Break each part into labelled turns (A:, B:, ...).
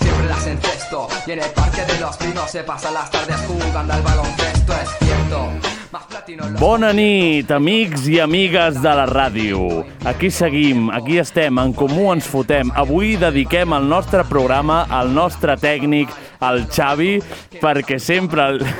A: Siempre las encesto. Y en el parque de los pinos se pasan las tardes jugando al baloncesto, es cierto. Más platino los
B: Bona nit, amics i amigues de la ràdio. Aquí seguim, aquí estem, en comú ens fotem. Avui dediquem el nostre programa al nostre tècnic, al Xavi, perquè sempre el...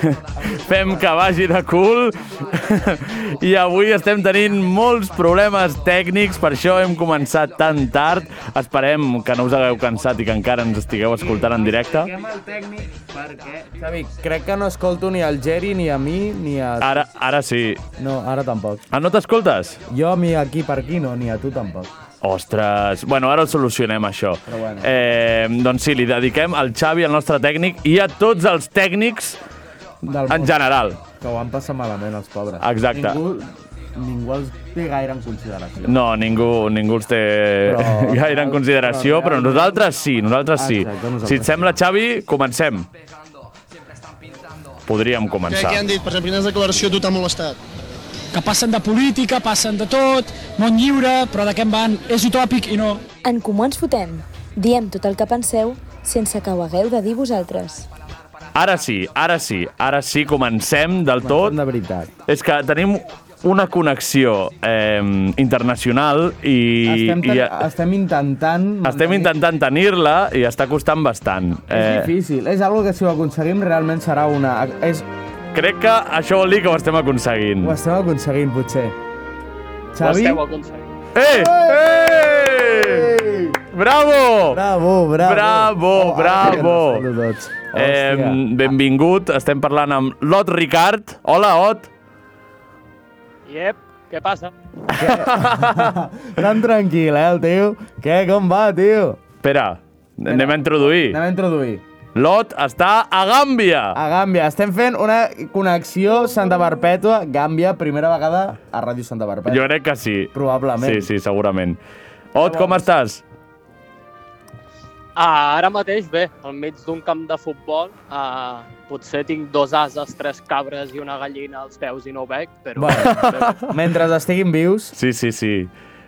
B: fem que vagi de cul i avui estem tenint molts problemes tècnics, per això hem començat tan tard. Esperem que no us hagueu cansat i que encara ens estigueu escoltant en directe.
C: Expliquem el tècnic perquè... Xavi, crec que no escolto ni al Geri, ni a mi, ni a...
B: Ara, ara sí.
C: No, ara tampoc.
B: Ah, no t'escoltes?
C: Jo ni aquí per aquí no, ni a tu tampoc.
B: Ostres, bueno, ara ho solucionem, això.
C: Però bueno.
B: Eh, doncs sí, li dediquem al Xavi, al nostre tècnic, i a tots els tècnics
C: Del
B: en general.
C: Que ho han passat malament, els pobres.
B: Exacte.
C: Ningú, ningú els té gaire en consideració.
B: No, ningú, ningú els té
C: Però-
B: gaire en consideració, però,
C: però
B: nosaltres sí, nosaltres sí.
C: Exacte, nosaltres
B: si et
C: sí.
B: sembla, Xavi, comencem. Podríem
D: Què,
B: començar.
D: què han dit? Per exemple, quina declaració a tu t'ha molestat?
E: que passen de política, passen de tot, món lliure, però de què en van? És utòpic i no.
F: En Comú Ens Fotem. Diem tot el que penseu sense que ho hagueu de dir vosaltres.
B: Ara sí, ara sí, ara sí, comencem del tot.
C: De veritat.
B: És que tenim una connexió eh, internacional i...
C: estem, ten...
B: i
C: estem intentant...
B: Estem
C: mantenir-
B: intentant tenir-la i està costant bastant. Eh,
C: És difícil. És algo que si ho aconseguim realment serà una... És...
B: crec que això vol dir que ho estem aconseguint.
C: Ho estem aconseguint, potser. Xavi?
B: Eh! Eh!
C: Ei!
B: Bravo!
C: Bravo, bravo.
B: Bravo,
C: ara que
B: bravo.
C: ens saludo tots.
B: Eh,
C: Hòstia.
B: benvingut, estem parlant amb l'Ot Ricard. Hola, Ot.
G: Yep, què passa?
C: Tan tranquil, eh, el tio. Què, com va, tio?
B: Espera, anem a introduir.
C: Anem a Ah, introduir.
B: L'Ot està a Gàmbia.
C: A Gàmbia, estem fent una connexió Santa Perpètua, Gàmbia, primera vegada a Ràdio Santa
B: Jo
C: Perpètua.
B: crec que sí.
C: Probablement.
B: Sí, sí, segurament. Ot, com estàs?
G: Ah, ara mateix, bé, al mig d'un camp de futbol, ah, potser tinc dos ases, tres cabres i una gallina als peus i no ho veig, però...
C: Bueno, mentre estiguin vius,
B: Sí, sí, sí.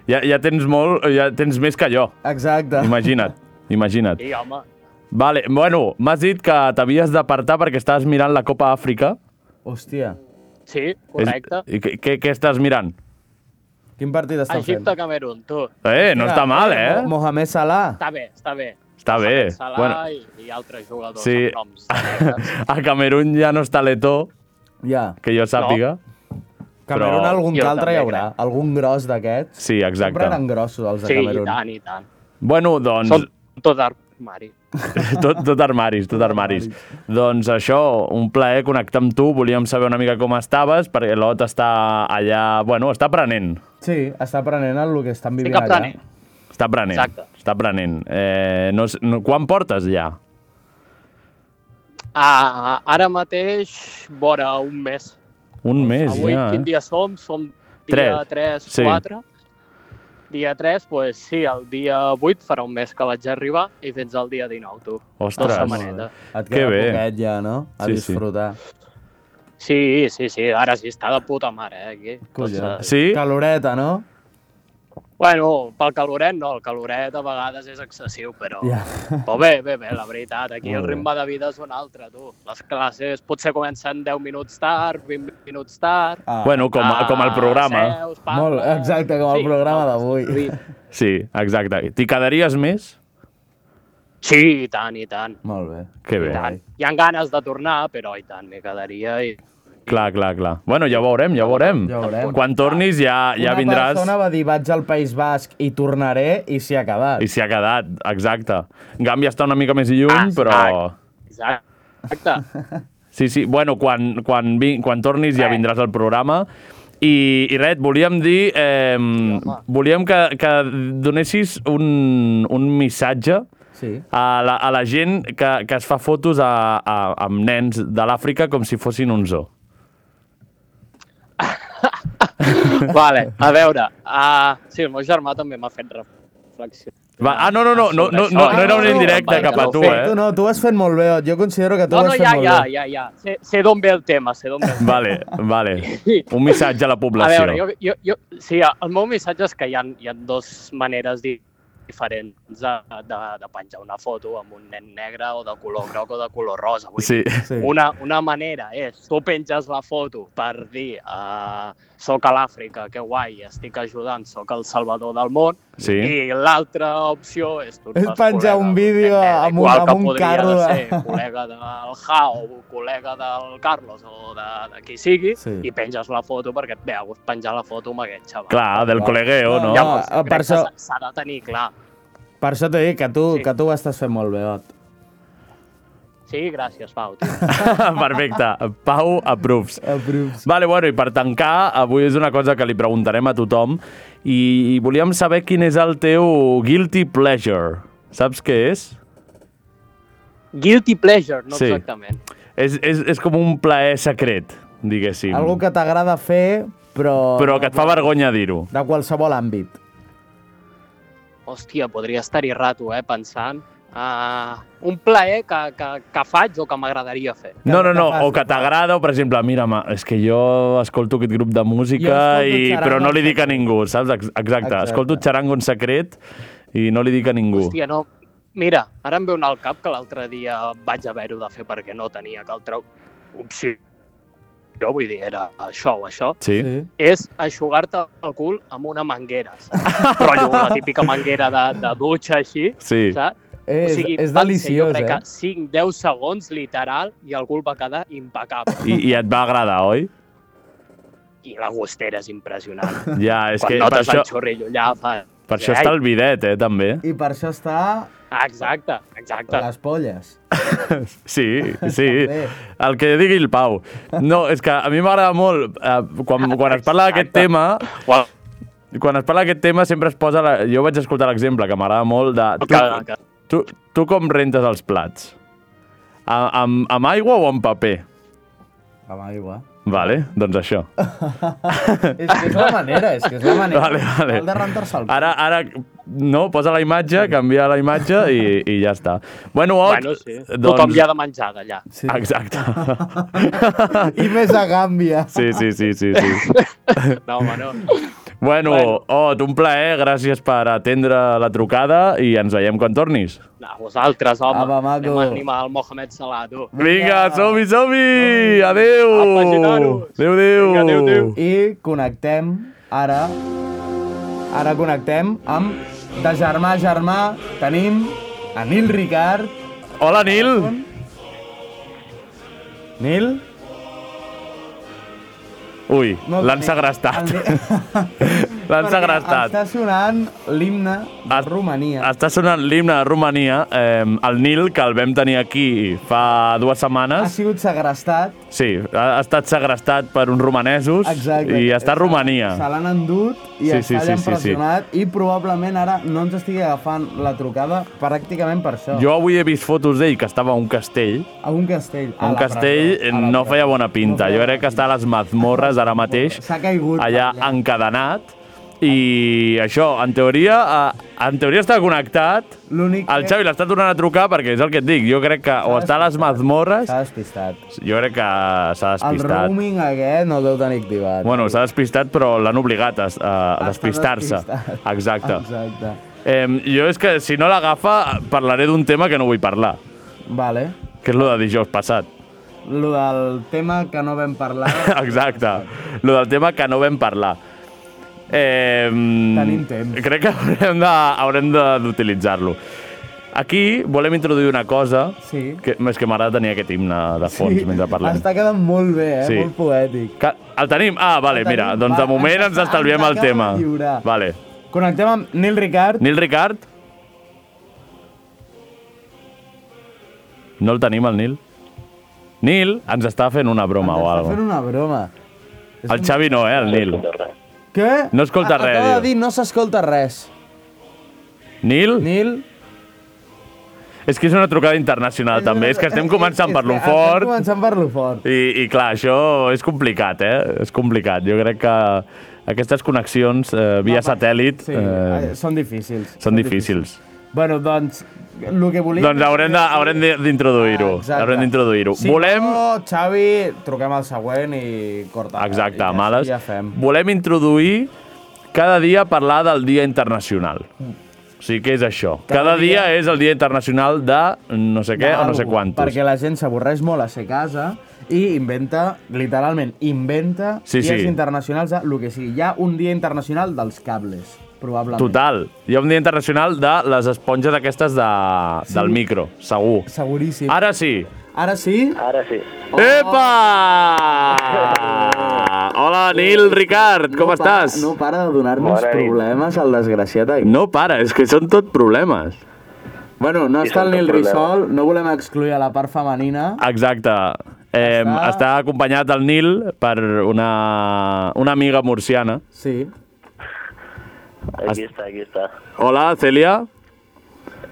B: Ja, ja tens molt, ja tens més que jo.
C: exacte.
B: Imagina't, imagina't.
G: Sí, home,
B: Vale, bueno, m'has dit que t'havies d'apartar perquè estàs mirant la Copa Àfrica.
C: Hòstia,
G: sí, correcte.
B: És, i què, què, què estàs mirant?
C: quin partit està fent?
G: Egipte-Camerun, tu.
B: Eh, no està mal, eh?
C: Mo- Mohamed Salah.
G: Està bé, està bé.
B: Està bé.
G: Salah
B: Bueno,
G: i, i altres jugadors
B: sí,
G: amb noms.
B: a Camerún ja no està l'Eto,
C: Ja.
B: que jo sàpiga.
C: Camerun,
B: Però-
C: algun
G: Jo
C: altre
G: també
C: hi haurà.
G: crec.
C: Algun gros d'aquests.
B: Sí,
C: Sempre eren
B: exacte.
C: grossos, els de
G: Sí, i
C: Camerun.
G: tant, i tant.
B: Bueno, doncs,
G: Són tot armari.
B: tot, tot armaris, tot armaris. Doncs això, un plaer connectar amb tu. Volíem saber una mica com estaves, perquè l'Ot està allà... Bueno, està aprenent.
C: Sí, està aprenent el que estan
G: Sí
C: vivint
G: que aprenent.
C: allà.
B: Està aprenent.
G: Exacte.
B: Està aprenent. Eh, no, s- no, quan portes ja?
G: Ah, ara mateix, vora un mes.
B: Un mes
G: Avui,
B: ja.
G: quin
B: eh?
G: dia som? Som dia
B: Tres.
G: 3,
B: Sí.
G: 4. Dia 3, pues, sí, el dia 8 farà un mes que vaig arribar i fins al dia 19, tu.
B: Ostres.
G: Dos setmanetes.
C: Et
B: Que
C: queda
B: bé.
C: poquet ja, no? A
B: Sí, sí.
C: disfrutar.
G: Sí, sí, sí, ara sí està de puta mare, eh, aquí.
C: Collons.
G: Doncs, eh,
B: Sí?
C: Caloreta, no?
G: Bueno, pel caloret no, el caloret a vegades és excessiu, però...
C: Ja.
G: Però bé, bé, bé, la veritat, aquí
B: Molt
G: el
B: bé.
G: ritme de vida és un altre, tu. Les classes potser comencen 10 minuts tard, 20 minuts tard...
C: Ah,
B: Bueno, com, a- com el
G: ah,
B: programa.
G: Seus,
C: Molt,
G: parles.
C: exacte, com el programa d'avui.
G: sí.
B: Sí, exacte. T'hi quedaries més?
G: Sí, i tant, i tant.
C: Molt bé.
B: Que
G: I
B: bé.
G: tant. Hi ha ganes de tornar, però i tant, m'hi quedaria. I...
B: Clar, clar, clar. Bueno, ja ho veurem, ja ho veurem.
C: Ja ho veurem.
B: Quan tornis ja, ja
C: Una
B: vindràs
C: persona va dir, vaig al País Basc i tornaré, i s'hi ha quedat.
B: i s'hi ha quedat, exacte. Gàmbia està una mica més lluny,
G: Ah,
B: però...
G: Exacte.
B: Sí, sí, bueno, quan, quan, vi, quan tornis ja
G: Eh.
B: vindràs al programa. I, i res, et volíem dir... Eh, volíem que, que donessis un, un missatge
C: Sí.
B: a la, a la gent que, que es fa fotos a, a, amb nens de l'Àfrica com si fossin un zoo.
G: Vale, a veure, uh, sí, el meu germà també m'ha fet reflexió.
B: Va, ah, no, no, no, no, no, no, no era un indirecte cap a tu,
C: Tu
B: eh?
C: no, tu ho has fet molt bé, Ot. Jo considero que tu
G: No,
C: ho
G: no,
C: has fet
G: ja,
C: molt
G: ja,
C: bé.
G: ja, ja. Sé, sé d'on ve el tema, sé d'on ve el tema.
B: Vale, vale. Un missatge a la
G: A
B: població.
G: veure, jo, jo, jo, sí, el meu missatge és que hi ha, hi ha dues maneres di diferents de, de, de penjar una foto amb un nen negre o de color groc o de color rosa. Vull
B: Sí.
C: Sí.
G: Una, una manera és, tu penges la foto per dir uh, soc a l'Àfrica, que guai, estic ajudant, soc el salvador del món,
B: Sí.
G: i l'altra opció és... Tu et
C: És
G: fas
C: penjar
G: col·lega
C: un
G: d'un
C: vídeo
G: nen negre,
C: amb un-
G: igual que
C: amb un
G: podria
C: carro eh.
G: de
C: de-
G: Ser col·lega del Jao, col·lega del Carlos o de, de qui sigui,
C: Sí.
G: sí. i penges la foto perquè et veu, penjar la foto amb aquest xaval.
B: Clar, del colegueo, no?
C: Ja,
G: Llavors,
C: Ah,
G: crec
C: per
G: que
C: això-
G: s'ha- s'ha de tenir clar.
C: Per això t'he dit que tu,
G: Sí.
C: que tu ho estàs fent molt bé, Ot.
G: Sí, gràcies, Pau. Tio.
B: Perfecte. Pau approves.
C: Aprops.
B: Vale, bueno, i per tancar, avui és una cosa que li preguntarem a tothom i, i volíem saber quin és el teu guilty pleasure. Saps què és?
G: Guilty pleasure, no
B: Sí.
G: sí. exactament.
B: És, és, és com un plaer secret, diguéssim.
C: Algo que t'agrada fer, però...
B: Però que et fa vergonya dir-ho.
C: De qualsevol àmbit.
G: Hòstia, podria estar-hi rato, eh, pensant. Uh, un plaer que, que, que faig o que m'agradaria fer.
B: No, no, no,
C: que fas,
B: o que
C: que
B: t'agrada, o per exemple, mira, ma, és que jo escolto aquest grup de música,
C: Jo escolto
B: i,
C: xarango
B: però no li
C: en
B: dic a ningú, saps? Ex- Exacte, Exacte.
C: Exacte.
B: escolto xarango en secret i no li dic a ningú.
G: Hòstia, no. Mira, ara em ve un al cap que l'altre dia vaig haver-ho de fer perquè no tenia que altra opció. Jo vull dir, era això o això.
B: Sí? sí?
G: És aixugar-te el cul amb una manguera, saps? Però la típica manguera de, de dutxa així,
B: Sí.
G: saps?
C: Eh, És, és
G: van ser, jo
C: deliciós,
G: crec
C: eh?
G: que 5-10 segons, literal, i el cul va quedar impecable.
B: I, I et va agradar, oi?
G: I la gostera és impressionant.
B: Ja, és
G: Quan
B: que per
G: notes
B: això,
G: el xorrillo allà, fa...
B: per això està el bidet, eh, també.
C: I per això està
G: Ah, Exacte, exacte.
C: les polles.
B: Sí, sí.
C: També.
B: El que digui el Pau. No, és que a mi m'agrada molt, eh, quan, quan es parla d'aquest
G: Exacte.
B: tema,
G: Well,
B: quan es parla d'aquest tema sempre es posa... La... Jo vaig escoltar l'exemple, que m'agrada molt, de...
G: que, que,
B: Tu, tu com rentes els plats? A, amb, amb aigua o amb paper?
C: Amb aigua.
B: Vale, doncs això.
C: És que és la manera, és que és la manera.
B: Vale, vale.
C: El de rentar-se el
B: Ara, ara, no, posa la imatge, canvia la imatge i, i ja està. Bueno, Ot,
G: bueno, sí. Doncs... Tothom hi ha de menjar d'allà.
C: Sí.
B: Exacte.
C: I més a Gàmbia.
B: Sí, sí, sí, sí, sí.
G: No, home, no.
B: Bueno,
G: Bueno.
B: Ot, un plaer, gràcies per atendre la trucada i ens veiem quan tornis.
G: no Ah, vosaltres, home.
C: Apa, maco.
G: Anem a animar el Mohamed Salah, tu.
B: Vinga, som-hi, som-hi! Adéu!
G: Apa, girar-ho.
B: Adéu, adéu!
G: Vinga, adéu, adéu.
C: I connectem ara... Ara connectem amb... De germà a germà tenim a Nil Ricard.
B: Hola, Nil!
C: Nil?
B: Ui,
C: No,
B: l'han
C: Nil.
B: segrestat.
C: El Nil-
B: L'han
C: Perquè
B: segrestat.
C: Està sonant l'himne de
B: Es-
C: Romania.
B: Està sonant l'himne de Romania, eh, el Nil, que el vam tenir aquí fa dues
C: Ha
B: setmanes.
C: sigut segrestat.
B: Sí, ha ha estat segrestat per uns romanesos
C: Exacte.
B: i està a Romania.
C: Se l'han endut i
B: Sí,
C: sí,
B: sí, sí,
C: està sí,
B: sí, sí.
C: impressionat i probablement ara no ens estigui agafant la trucada pràcticament per això.
B: Jo avui he vist fotos d'ell que estava a un castell.
C: A un castell. A
B: Un
C: la
B: castell
C: presó, a la
B: no
C: presó.
B: feia bona pinta.
C: No
B: Jo
C: feia
B: crec que està a les mazmorres ara mateix,
C: S'ha caigut.
B: allà encadenat. I això, en teoria, eh, en teoria està connectat.
C: L'únic
B: El Xavi l'està tornant a trucar perquè és el que et dic. Jo crec que o està a les mazmorres,
C: S'ha despistat.
B: jo crec que s'ha
C: El
B: despistat.
C: roaming aquest no el deu tenir activat.
B: Bueno, s'ha despistat, però l'han obligat a, a, a despistar-se.
C: despistat.
B: Exacte.
C: Exacte.
B: Eh, jo és que, si no l'agafa, parlaré d'un tema que no vull parlar,
C: Vale.
B: que és lo de dijous passat.
C: Lo del tema que no vam parlar...
B: Exacte. Lo del tema que no vam parlar. Eh,
C: Tenim temps.
B: Crec que haurem de- haurem de- d'utilitzar-lo. Aquí volem introduir una cosa
C: Sí.
B: que, és que m'agrada tenir aquest himne de fons sí. mentre parlem.
C: Està quedant molt bé, eh?
B: Sí.
C: Molt poètic.
B: Que, el tenim? Ah, vale,
C: El
B: mira,
C: tenim.
B: doncs de
C: Va,
B: moment
C: ens-
B: ens estalviem
C: ens
B: el
C: acaba de
B: tema.
C: lliurar.
B: Vale.
C: Connectem amb Nil Ricard.
B: Nil Ricard? No el tenim, el Nil? Nil ens està fent una broma o
C: Està fent
B: alguna
C: una broma.
B: cosa. El Xavi no, eh, el Nil.
C: Què?
B: No escolta res,
C: Acaba
B: diu.
C: de dir no s'escolta res.
B: Nil?
C: Nil?
B: És que és una trucada internacional, Ah, també. És que estem començant per lo
C: Eh, És que Estem
B: fort
C: començant per lo fort.
B: i, i, clar, això és complicat, eh? És complicat. Jo crec que aquestes connexions eh, via satèl·lit
C: Sí,
B: eh,
C: eh, són difícils.
B: són difícils.
C: Bueno, doncs, el que volia...
B: Doncs haurem de- haurem de- d'introduir-ho.
C: Ah, Exacte. Oh,
B: Haurem d'introduir-ho.
C: Si
B: Volem...
C: no, Xavi, truquem al següent i corta.
B: Exacte,
C: I ja,
B: a males.
C: Ja fem.
B: Volem introduir cada dia parlar del Dia Internacional. O sigui que és això. Cada,
C: Mm. Cada
B: dia,
C: dia-
B: és el Dia Internacional de no sé què eh, o no sé
C: D'algú,
B: quantos.
C: Perquè la gent s'avorreix molt a ser a casa i inventa, literalment, inventa
B: Sí,
C: dies
B: sí.
C: internacionals de lo que sigui. Hi ha un dia internacional dels cables, probablement.
B: Total. Hi ha un Dia Internacional de les esponges aquestes de, sí. del micro, segur.
C: Seguríssim. Ara,
B: Ara sí.
C: Ara sí?
D: Ara sí.
B: Oh. Epa! Hola, Nil Ricard, com estàs?
C: Oh. No para de donar-nos
D: Bona nit.
C: problemes al desgraciat. No.
B: no para, és que són tot problemes.
C: Bueno, no està el
D: són
C: Nil
D: tot problemes.
C: Risol, no volem excluir a la part femenina.
B: Exacte. Eh, està...
C: Està-
B: acompanyat el Nil per una, una amiga murciana.
C: Sí.
D: Aquí està, aquí està.
B: Hola, Celia.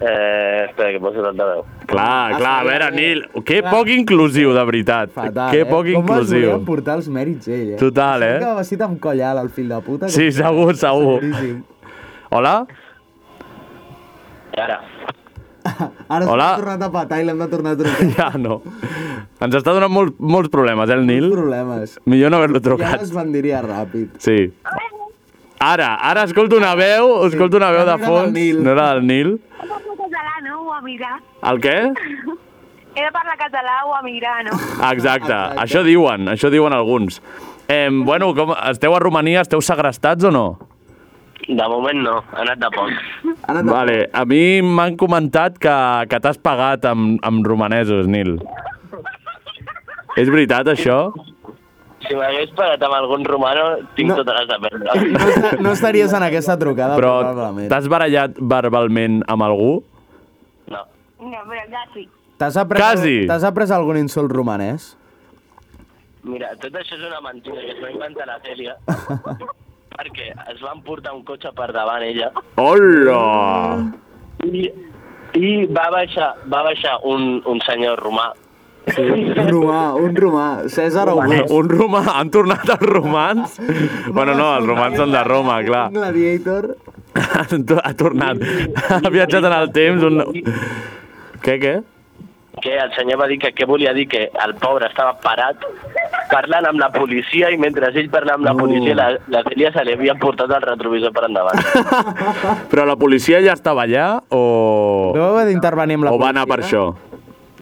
D: Eh, espera, que poso l'altaveu.
B: Clar,
C: Ah,
B: clar, a
C: sí,
B: veure,
C: eh,
B: Nil, que
C: clar.
B: poc inclusiu, de veritat.
C: Fatal,
B: que
C: eh?
B: poc
C: Com
B: inclusiu.
C: Com portar els mèrits ell, eh?
B: Total, eh?
C: Que va ser tan collal, el fill de puta.
B: Sí, segur, segur.
C: Seguríssim.
B: Hola?
D: Ara.
C: Ara s'ha
B: Hola?
C: tornat a petar i l'hem de tornar a trucar.
B: Ja no. Ens està donant molt, molts problemes, eh, el Nil?
C: Problemes.
B: Millor no haver-lo
C: Ja
B: trucat.
C: es bandiria ràpid.
B: Sí. Ara, ara escolto una veu, escolto una veu
C: no
B: de
C: era del
B: fons.
C: Nil.
B: No era del Nil.
H: Era per català, no? O amigar.
B: El què?
H: Era parlar català o amigar, no?
B: Exacte,
C: Exacte.
B: això diuen, això diuen alguns. Eh, bueno, com, esteu a Romania, esteu segrestats o no?
D: De moment no, ha anat de poc.
C: Ara te-
B: Vale, a mi m'han comentat que, que t'has pagat amb, amb romanesos, Nil. És veritat, això?
D: Si m'hagués parat amb algun romano, tinc
C: No.
D: no. totes les de
C: No,
D: perdre.
C: esta- no estaries en aquesta trucada,
B: Però
C: probablement.
B: t'has barallat verbalment amb algú?
D: No.
H: No, però quasi.
C: T'has après,
B: Quasi.
C: T'has après algun insult romanès?
D: Mira, tot això és una mentida que es va inventar la Cèlia perquè es van portar un cotxe per davant ella
B: Hola!
D: i, i va baixar, va baixar un, un senyor romà
C: Sí, un romà, un romà. César August.
B: Un romà, han tornat els romans? bueno, no, els romans són de Roma, clar.
C: Un gladiator.
B: Han to- ha tornat, ha viatjat en el temps. Un... Què, què?
D: que el senyor va dir que què volia dir que el pobre estava parat parlant amb la policia i mentre ell parlava amb la policia la, la Cèlia se li havia portat el retrovisor per endavant.
B: Però la policia ja estava allà o,
C: No heu d'intervenir amb la
B: o va anar per
C: policia?
B: això?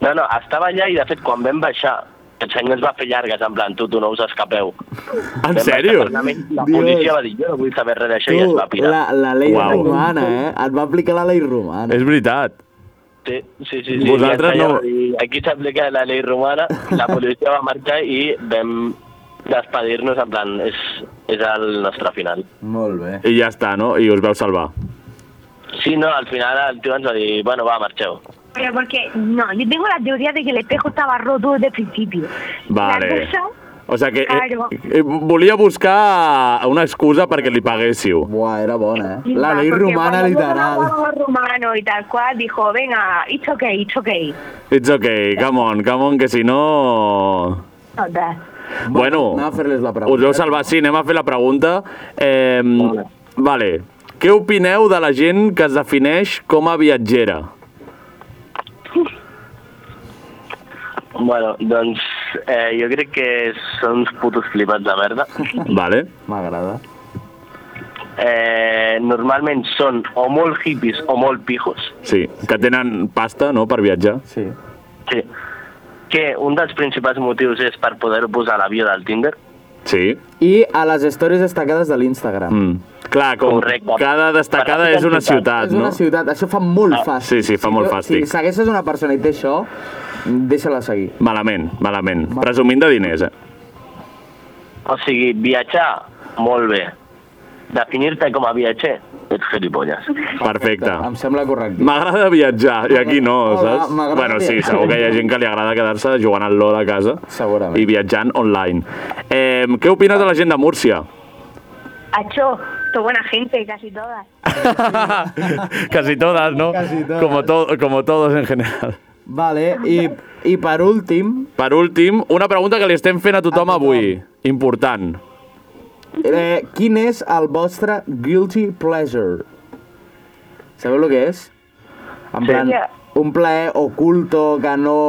D: No, no, estava allà i de fet quan vam baixar el senyor es va fer llargues en plan tu, tu no us escapeu.
B: En
D: Vam
B: sèrio?
D: baixar per La
C: Dios.
D: policia va dir jo no vull saber res d'això i es va
C: Tu,
D: pirar.
C: la, la llei
B: Uau.
C: romana, eh? Et va aplicar la llei romana.
B: És veritat.
D: Sí, sí, sí. sí.
B: Vosaltres
D: I el senyor
B: no-
D: va dir, Aquí s'aplica la llei romana, la policia va marxar i vam despedir-nos en plan és, és el nostre final.
B: Eh.
C: Molt bé.
B: I ja està, no? I us veu salvar.
D: Sí, no, al final el tio ens va dir bueno, va, marxeu.
H: Pero porque, no, yo tengo la teoría de que el espejo estaba roto desde el principio. La
B: Vale.
H: cosa,
B: O sigui que eh,
H: Claro.
B: eh, volia buscar una excusa perquè li paguéssiu.
C: Buah, era bona, eh?
H: y
C: La
H: más,
C: llei
H: porque
C: romana,
H: cuando
C: literal.
H: hablaba con los romanos y tal cual, dijo, venga, it's okay, it's okay.
B: It's okay, come on, come on, que si no...
H: Total.
B: Bueno,
C: Anem a fer-les la pregunta.
B: us veu salvar. Sí, anem a fer la pregunta. Eh, vale. Què opineu de la gent que es defineix com a viatgera?
D: Bueno, doncs eh, jo crec que són uns putos flipats de merda.
B: Vale.
C: M'agrada.
D: Eh, normalment són o molt hippies o molt pijos.
B: Sí, que tenen pasta, no?, per viatjar.
C: Sí.
D: Sí. Que un dels principals motius és per poder posar la bio del Tinder.
B: Sí.
C: I a les històries destacades de l'Instagram.
B: Mm. Clar, com
D: Correcte.
B: cada destacada és una ciutat,
C: és una
B: ah, no? Ah,
C: ciutat, això fa molt fàstic.
B: sí, sí, fa
C: Si
B: molt
C: jo-
B: fàstic.
C: Si segueixes una persona i té això, deixa-la seguir.
B: Malament, malament. Presumint de diners, eh?
D: O sigui, viatjar, molt bé. Definir-te com a viatger, ets gilipolles.
B: Perfecte.
C: Em sembla correcte.
B: M'agrada viatjar, i aquí no,
C: Hola,
B: saps?
C: m'agrada
B: Bueno, sí,
C: viatjar.
B: segur que hi ha gent que li agrada quedar-se jugant al LOL a casa
C: Segurament.
B: i viatjant online. Eh, què opines de la gent de Múrcia?
H: Acho, esto buena gente, casi todas.
B: Casi todas, ¿no?
C: Casi todas.
B: Como, to- como todos en general.
C: Vale, i, i per últim,
B: Per últim, una pregunta que li estem fent a tothom avui. Important.
C: eh, quin és el vostre guilty pleasure? Sabeu el que és?
B: Sí.
C: En plan, un plaer oculto que no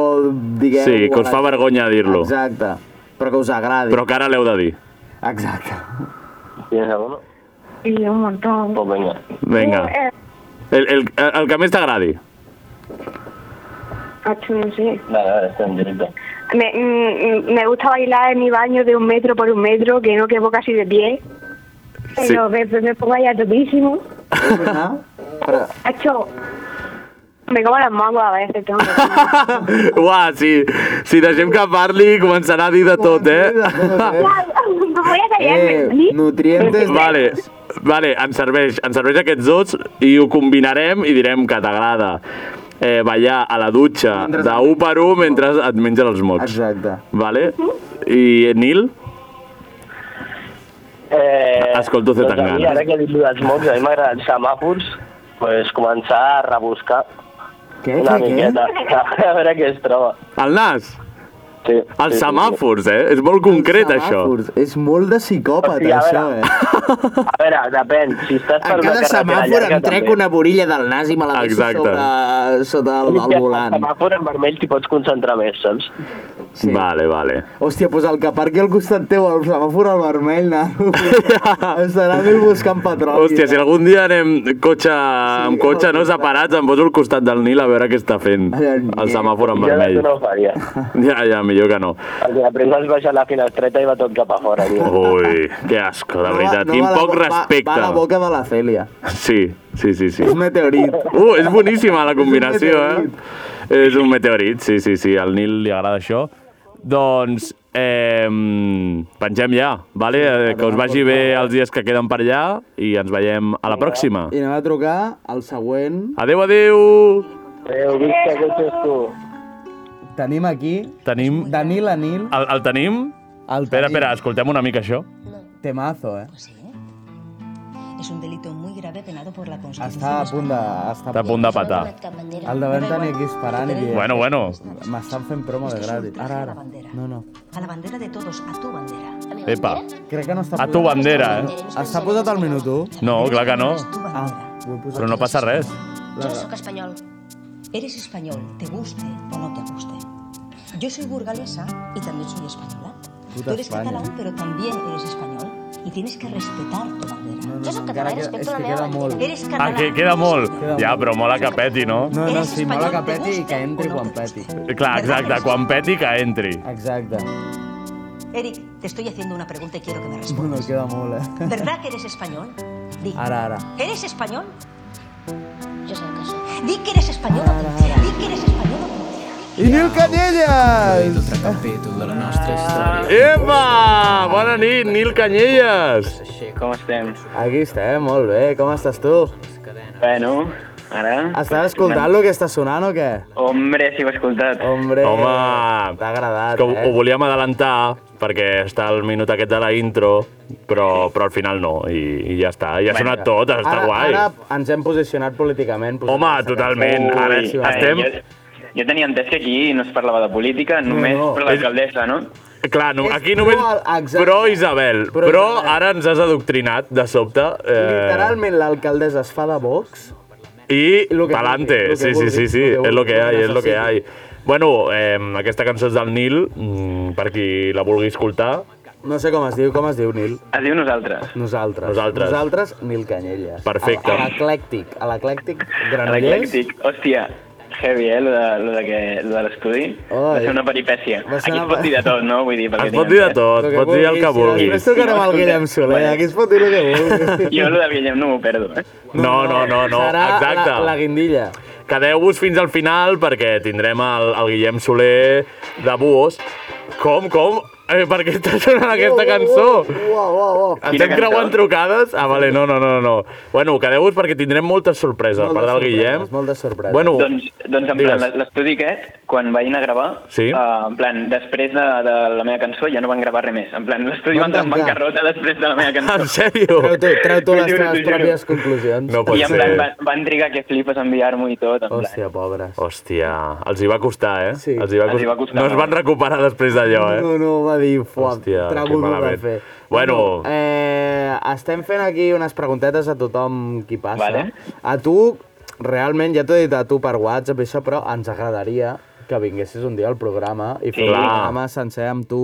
C: digueu...
B: Sí, que us
C: a la
B: fa
C: gent.
B: vergonya dir-lo.
C: Exacte, però que us agradi.
B: Però que ara l'heu de dir.
C: Exacte.
D: ¿Tienes alguno?
H: Y un montón.
D: Pues venga.
B: Venga.
H: Eh,
B: El, el, el que més t'agradi.
H: macho, no sé.
D: Dale, dale, está en directo.
H: Me, mm, mm, me gusta bailar en mi baño de un metro por un metro, que no quepo casi de pie. Pero me, me pongo allá topísimo. Macho, me como las manguas a veces. Tengo que...
B: Uà, si, si deixem que parli, començarà a dir de tot, eh?
H: Voy a callarme.
C: nutrientes...
B: Vale, vale ens, serveix, ens serveix aquests dos i ho combinarem i direm que t'agrada eh, ballar a la dutxa de 1 per 1 mentre et menges els mocs.
C: Exacte.
B: Vale? I Nil?
D: Eh,
B: Escolto
D: a mi,
B: Zetangana.
D: ara que he dit allò dels mocs, a mi m'agraden semàfors, pues, començar a rebuscar
C: què,
D: una
B: què, què?
D: miqueta, a veure què es troba.
B: El nas?
D: Sí.
B: Els semàfors, eh? És molt concret, això.
C: Semàfors. És molt de psicòpata,
D: Hòstia, a
C: això,
D: veure.
C: eh?
D: A veure, depèn, si estàs per
C: A
D: una
C: cada
D: carretera
C: semàfor
D: llarga,
C: em trec
D: també.
C: una borilla del nas i me la deixo
D: Exacte.
C: sobre, sota el, el
D: Al
C: volant.
D: semàfor en vermell t'hi pots concentrar més, saps?
C: Sí.
B: Vale, vale.
C: Hòstia, doncs el que parqui al costat teu, el semàfor al vermell, nano. Estarà mil buscant petroli.
B: Hòstia, si algun dia anem cotxe, amb cotxe, no, separats, em poso al costat del Nil a veure què està fent. El semàfor en
D: Jo
B: vermell.
D: això no ho faria.
B: Ja, ja, millor que no.
D: Perquè després vas baixar la finestreta i va tot cap a fora. Tio.
B: Ui, que asco, de veritat.
D: no
B: Quin
D: va la
B: poc
D: bo- va-
B: respecte.
C: Va a la boca de la Cèlia.
B: Sí, sí, sí, sí.
C: És un meteorit.
B: Uh, és boníssima la combinació,
C: meteorit.
B: eh? És un meteorit, sí, sí, sí. Al Nil li agrada això. Doncs, eh, pengem ja, vale? Eh, Que us vagi
D: doncs,
B: bé els dies que queden per allà i ens veiem a la pròxima.
C: I anem a trucar al següent.
B: Adeu, adeu!
D: Adéu, visca, que ets tu.
C: Tenim aquí...
B: Tenim...
D: Doncs,
C: Danil Anil.
B: El, el tenim?
C: El
B: espera, espera, escoltem una mica això.
C: Temazo, eh?
I: Es un delito muy grave penado por la Constitución.
C: Està a punt de...
B: Està a punt de patar.
C: Al davant tenir aquí esperant i dient...
B: Bueno, bueno.
C: M'estan fent promo de gratis. Ara, ara. No, no.
I: A la bandera de todos, a tu bandera.
B: Epa.
C: Crec que no està...
B: A tu bandera, eh?
C: Està posat al minut 1?
B: No, clar que no.
C: Ah, ho he posat.
B: Però no passa res.
I: Yo soy español. Eres español, te guste o no te guste. Yo soy burgalesa y también soy española. Tú eres
C: España.
I: catalán, pero también eres español. Y tienes que respetar tu bandera. yo soy
C: encara que- és que queda molt.
I: Eres
B: Ah,
I: catalán.
B: que queda molt. Ja, però mola que peti, no?
C: No, no, sí, mola que peti i que entri quan peti.
B: Clar, exacte, quan peti que entri.
C: Exacte.
I: Eric, te estoy haciendo una pregunta y quiero que me
C: Bueno,
I: respondas.
C: queda molt, eh?
I: ¿Verdad que eres español? Di.
C: Ara, ara.
I: ¿Eres español? Yo soy caso. Di que eres español o mentira. Di que eres español o
C: I Nil Canelles!
B: Epa! Bona nit, Nil Canyelles!
A: Com estem?
C: Aquí estem, molt bé. Com estàs tu?
A: Bueno, ara...
C: Estàs escoltant lo que està sonant o què?
A: Hombre, si ho he escoltat.
C: Hombre,
B: Home, t'ha
C: agradat,
B: que ho,
C: eh?
B: ho volíem adelantar perquè està el minut aquest de la intro, però, però al final no, i, i ja està. Ja ha sonat tot, està
C: ara,
B: guai.
C: Ara ens hem posicionat políticament. posant
B: Home,
C: aquesta
B: totalment.
C: cançó.
B: Ara estem...
A: Ai, jo, jo tenia entès que aquí no es parlava de política, només
B: no.
A: per l'alcaldessa, no?
B: Clar, no, aquí només... Però Isabel,
C: Pro
B: però
C: Isabel.
B: ara ens has adoctrinat de sobte. Eh,
C: Literalment l'alcaldessa es fa de Vox.
B: I
C: que vulgui,
B: pa'lante,
C: lo que
B: sí, sí, sí,
C: vulgui,
B: sí,
C: lo
B: és lo que
C: que vulgui, lo que
B: hay, és lo que hay.
C: necessiti.
B: Bueno, eh, aquesta cançó és del Nil, mm, per qui la vulgui escoltar.
C: No sé com es diu, com es diu, Nil?
A: Es diu nosaltres.
C: Nosaltres.
B: Nosaltres.
C: Nosaltres, Nil Canyelles.
B: Perfecte.
C: A a l'eclèctic, a l'eclèctic Granollers.
A: L'eclèctic. Hòstia, heavy, eh, lo de, lo de, que, lo de l'estudi. Va ser una peripècia.
C: Va ser
A: Aquí
C: una
A: es pot dir de tot, no? Vull dir, perquè
B: Es pot dir de tot,
C: Lo que
B: pots dir el que
C: vulguis,
B: vulguis.
C: Després tocarem al Guillem Soler, aquí es pot dir el que vulguis.
A: Jo el de Guillem no m'ho perdo, eh?
B: No, no, no, no,
C: Serà
B: exacte.
C: la, la guindilla.
B: Quedeu-vos fins al final perquè tindrem el, el Guillem Soler de Buos. Com, com? eh, per què està sonant aquesta cançó?
A: Oh,
C: Uau, uau, uau.
B: Estem creuant trucades? Ah, vale, no, no, no, no. Bueno, quedeu-vos perquè tindrem moltes sorpreses per part del Guillem.
C: Molt de sorpresa.
B: Bueno,
A: Doncs, doncs en plan,
B: Oh. digues.
A: l'estudi aquest, quan vaig anar a gravar,
B: Sí.
A: eh, en plan, després de, de la meva cançó ja no van gravar res més. En plan, l'estudi va
C: Van
A: entrar en
C: tancar.
A: bancarrota després de la meva cançó.
B: En sèrio?
C: Treu tu, treu tu
A: T'ho
C: les
A: juro,
C: teves
A: t'ho juro.
C: pròpies conclusions.
B: No pot
A: I en
B: ser.
A: plan, van, van trigar que flipes a enviar-m'ho i tot. En plan.
C: Hòstia, pobres.
B: Hòstia, els hi va costar, eh? Sí. Els hi va,
A: Els
B: cost...
A: hi va costar
B: No es
A: molt.
B: van recuperar després d'allò, eh?
C: No, no, va dir, fuà,
B: Hòstia,
C: trago
B: que
C: dur de
B: malament.
C: fer.
B: Bueno,
C: Eh, estem fent aquí unes preguntetes a tothom qui passa.
A: Vale.
C: A tu, realment, ja t'ho he dit a tu per WhatsApp i això, però ens agradaria que vinguessis un dia al programa i fer
B: Sí.
C: un
B: Clar.
C: programa sencer amb tu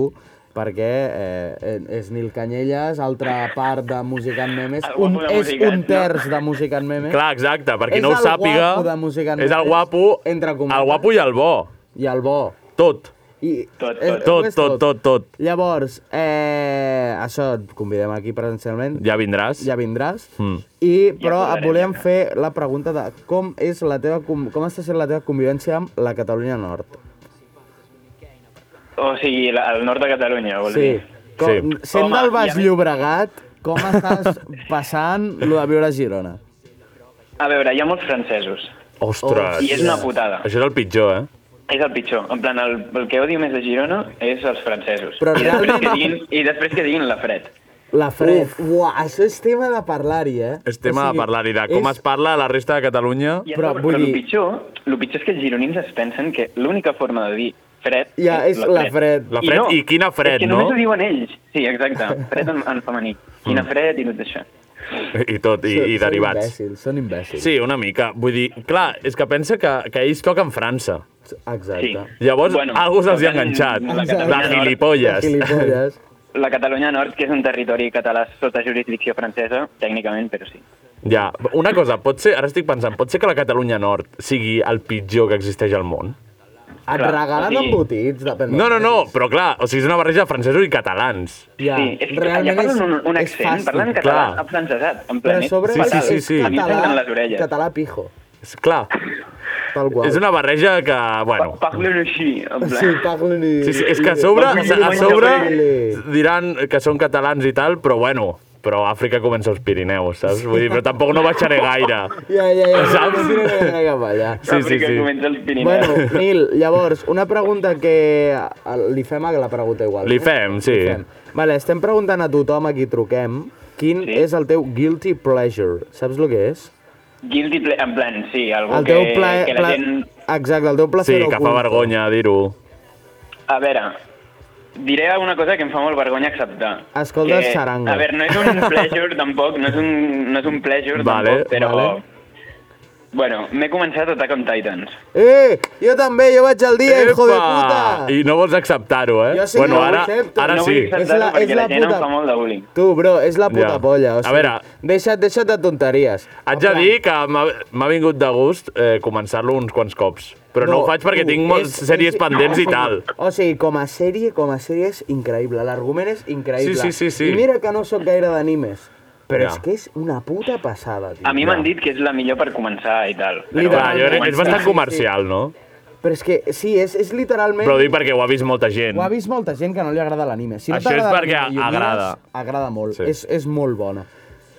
C: perquè eh, és Nil Canyelles, altra part de Música en Memes,
B: El
C: un,
B: guapo de
C: és
B: Música,
C: un
B: no?
C: terç de Música en Memes.
B: Clar, exacte, per qui
C: eh? És
B: no ho
C: el
B: sàpiga,
C: guapo de Música en
B: és el
C: Memes,
B: guapo-
C: entre cometes.
B: el guapo i el bo.
C: I el bo.
B: Tot.
C: I
B: Tot,
C: és-
B: tot.
C: ho és
B: Tot, tot, tot.
C: Llavors, eh, això, et convidem aquí presencialment.
B: Ja vindràs.
C: Ja vindràs.
B: Mm.
C: I, però
B: parlarem,
C: et volíem fer la pregunta de com, és la teva, com, com està sent la teva convivència amb la Catalunya Nord?
A: O sigui, la, el nord de Catalunya, vol dir.
C: Com,
A: Sí.
C: Sent
A: Home,
C: del
A: i
C: Baix
A: a mi-
C: Llobregat, com estàs passant lo de viure a Girona?
A: A veure, hi ha molts francesos.
B: Ostres.
A: I és una putada.
B: Això és el pitjor, eh?
A: És el pitjor. En plan, el, el que odio més de Girona és els francesos.
C: Però
A: I després
C: realment-
A: que diguin, i després que diguin la fred.
C: La Fred. Uf, uah, això és tema de parlar-hi, eh?
B: És tema de parlar-hi, de com es parla a la resta de Catalunya.
A: I però, però el, pitjor, el pitjor és que els gironins es pensen que l'única forma de dir fred
C: Ja, és la fred.
B: La fred, i quina fred,
A: és que
B: no?
A: només ho diuen ells. Sí, exacte. Fred en, en femení. Quina
C: Mm.
A: fred i tot això.
B: I tot, i, i derivats.
C: Són imbècils, són imbècils.
B: Sí, una mica. Vull dir, clar, és que pensa que, que ells toquen França.
C: Exacte. Sí.
B: Llavors,
A: Bueno,
B: bueno, algú se'ls hi ha
A: toquen
B: enganxat.
A: la
B: De
A: Catalunya
B: gilipolles.
A: Nord. De gilipolles. La Catalunya Nord, que és un territori català sota jurisdicció francesa, tècnicament, però sí.
B: Ja, una cosa, pot ser, ara estic pensant, pot ser que la Catalunya Nord sigui el pitjor que existeix al món?
C: Et
A: Clar,
C: regalen
A: o sigui-
C: embotits, depèn de
B: No, no, no, però clar, o sigui, és una barreja de francesos i catalans.
C: Ja,
A: sí, és que
C: realment
A: allà parlen
C: és-
A: un, un
C: és
A: accent,
C: fàstic.
A: parlen català,
B: Clar.
A: afrancesat, en
C: Però
A: plan,
C: a sobre
B: Sí, sí, sí, sí.
A: A mi em tanquen les orelles.
C: català pijo.
B: És clar.
C: Tal qual.
B: És una barreja que, bueno...
A: Parlen així, en plan...
C: Sí, parlen i...
B: Sí, sí, és que a sobre, o
C: Parlen i-
B: sigui, a
C: parlen i-
B: sobre
C: parlen i-
B: diran que són catalans i tal, però bueno, però Àfrica comença als Pirineus, saps? Vull dir, però tampoc no baixaré gaire.
C: Ja, ja, ja.
B: Saps?
C: No tira gaire cap allà.
B: Sí, sí, sí.
C: Bueno, Nil, llavors, una pregunta que eh, li fem a la pregunta igual.
B: Li
C: eh?
B: fem, sí.
C: Li fem. Vale, estem preguntant a tothom a qui truquem quin sí. és el teu guilty pleasure. Saps el que és?
A: Guilty ple... en plan, sí, algú
C: El
A: que,
C: teu plaer...
A: que la gent...
C: Exacte, el teu plaer
B: Sí, que fa vergonya dir-ho.
A: A veure, diré una cosa que em fa molt vergonya acceptar.
C: Escolta,
A: que,
C: xaranga.
A: A veure, no és un pleasure tampoc, no és un, no és un pleasure
B: Vale,
A: tampoc, però...
B: vale.
A: Bueno, m'he començat a Attack on Titans.
C: Eh, jo també, jo vaig al dia, hijo de puta!
B: I no vols acceptar-ho, eh?
C: Jo sí que
B: bueno,
C: ho
B: ara,
C: accepto.
B: ara
C: No vull
B: sí.
C: acceptar-ho És la- perquè és la la gent em puta- fa
A: molt de bullying.
C: Tu, bro, és la puta
B: Ja.
C: polla. O sigui,
B: A veure.
C: Deixa't, deixa't de tonteries.
B: Haig de dir que m'ha- m'ha vingut de gust eh, començar-lo uns quants cops. Però no, ho faig perquè
C: tu,
B: tinc moltes sèries pendents i tal.
C: O sigui, com a sèrie, com a sèrie és increïble. L'argument és increïble.
B: Sí, sí, sí, sí.
C: I mira que no sóc gaire d'animes. Però
B: Ja.
C: és que és una puta passada, tio.
A: A mi m'han dit que és la millor per començar i tal. però-
B: Clar, jo crec que és bastant
C: Sí, sí, sí.
B: comercial, no?
C: Però és que, sí, és, és literalment...
B: Però ho dic perquè ho ha vist molta gent.
C: Ho ha vist molta gent que no li agrada l'anime. Si no
B: Això és
C: t'agrada
B: perquè
C: l'anime i ho
B: agrada.
C: mires, agrada molt.
B: Sí.
C: Sí. És, és molt bona.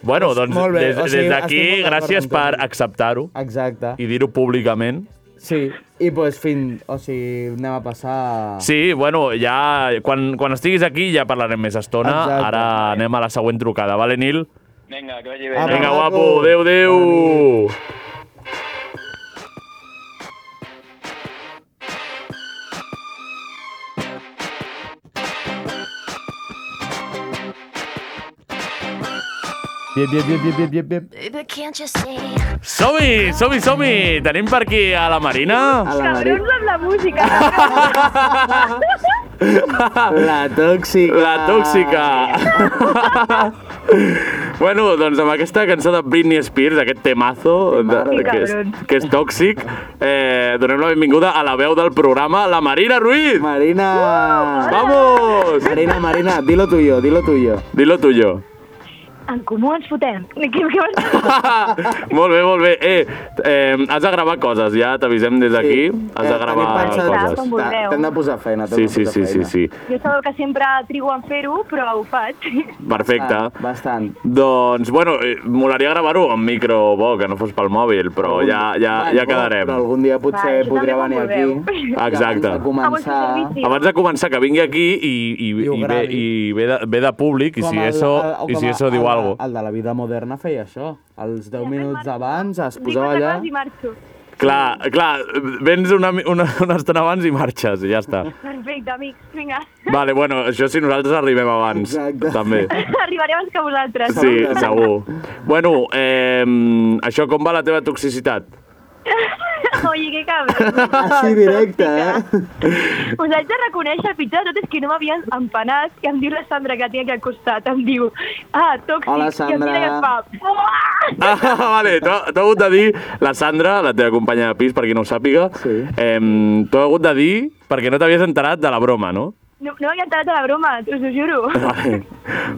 B: Bueno,
C: Doncs
B: doncs
C: molt bé,
B: des
C: o sigui,
B: des d'aquí,
C: estic molt d'acord
B: gràcies
C: amb tu.
B: per acceptar-ho
C: Exacte.
B: i dir-ho públicament.
C: Sí, i doncs fins... O sigui, anem a passar...
B: Sí, bueno, ja quan, quan estiguis aquí ja parlarem més estona.
C: Exacte.
B: Ara anem a la següent trucada, vale, Nil?
A: Vinga, que vagi bé.
C: Apa,
B: Vinga,
C: guapo.
B: guapo, adéu, adéu!
C: Bien, bien, bien, bien, bien, bien, bien.
H: Baby, can't you see?
B: Som-hi, som-hi, som-hi! Tenim per aquí a la Marina.
H: Cabrons amb la música.
C: La tòxica.
B: La tòxica. bueno, doncs amb aquesta cançó de Britney Spears, aquest temazo, de, que, és, que és tòxic, eh, donem la benvinguda a la veu del programa, la Marina Ruiz.
C: Marina!
B: ¡Vamos!
C: Marina, Marina, dilo tuyo, dilo tuyo.
B: Dilo tuyo.
H: En comú ens fotem. Què, què vas dir?
B: molt bé, molt bé. Eh, eh, has de gravar coses, ja t'avisem des d'aquí. Sí. Has
C: Eh,
B: de gravar
H: pensat-
B: coses.
H: Com vulgueu.
C: T'hem de posar feina.
B: Sí,
C: t'hem de
B: sí,
C: posar
B: sí, sí,
C: feina.
B: sí.
H: Jo sabeu que sempre trigo en fer-ho, però ho faig.
B: Perfecte.
C: Ah, bastant.
B: Doncs, bueno, eh, molaria gravar-ho amb micro bo, que no fos pel mòbil, però ja, ja, ja quedarem.
C: Però algun dia potser
H: Va,
C: podria
H: això
C: venir
H: també
C: aquí.
H: quan vulgueu.
B: Exacte.
C: Abans de començar...
B: Abans de començar, que vingui aquí i, i, i, ve, i ve, de, ve de públic, i si eso,
C: o
B: i
C: com
B: si
C: el-
B: eso diu
C: el,
B: alguna
C: El de la vida moderna feia això. Els 10 minuts abans es posava allà...
H: I marxo.
B: Clar, clar, vens una, mi- una, una estona abans i marxes, i ja està.
H: Perfecte, amics, vinga.
B: Vale, bueno, això si nosaltres arribem abans, Exacte. també.
H: Arribaré abans que vosaltres.
B: Sí, segur. Bueno, eh, això com va la teva toxicitat?
H: Oye, que cabrón.
C: directe, eh?
H: Us haig de reconèixer, el pitjor de tot és que no m'havien empanat i em diu la Sandra que tinc aquí al costat, em diu, ah, tòxic,
B: Hola,
H: i em mira i em fa, "Uah!"
B: Ah, vale, t'ho t'ho ha hagut de dir la Sandra, la teva companya de pis, per qui no ho sàpiga. Sí. Eh, t'ho ha hagut de dir perquè no t'havies enterat de la broma, no?
H: no, no m'havia entrat a la broma, us ho juro.
B: Vale.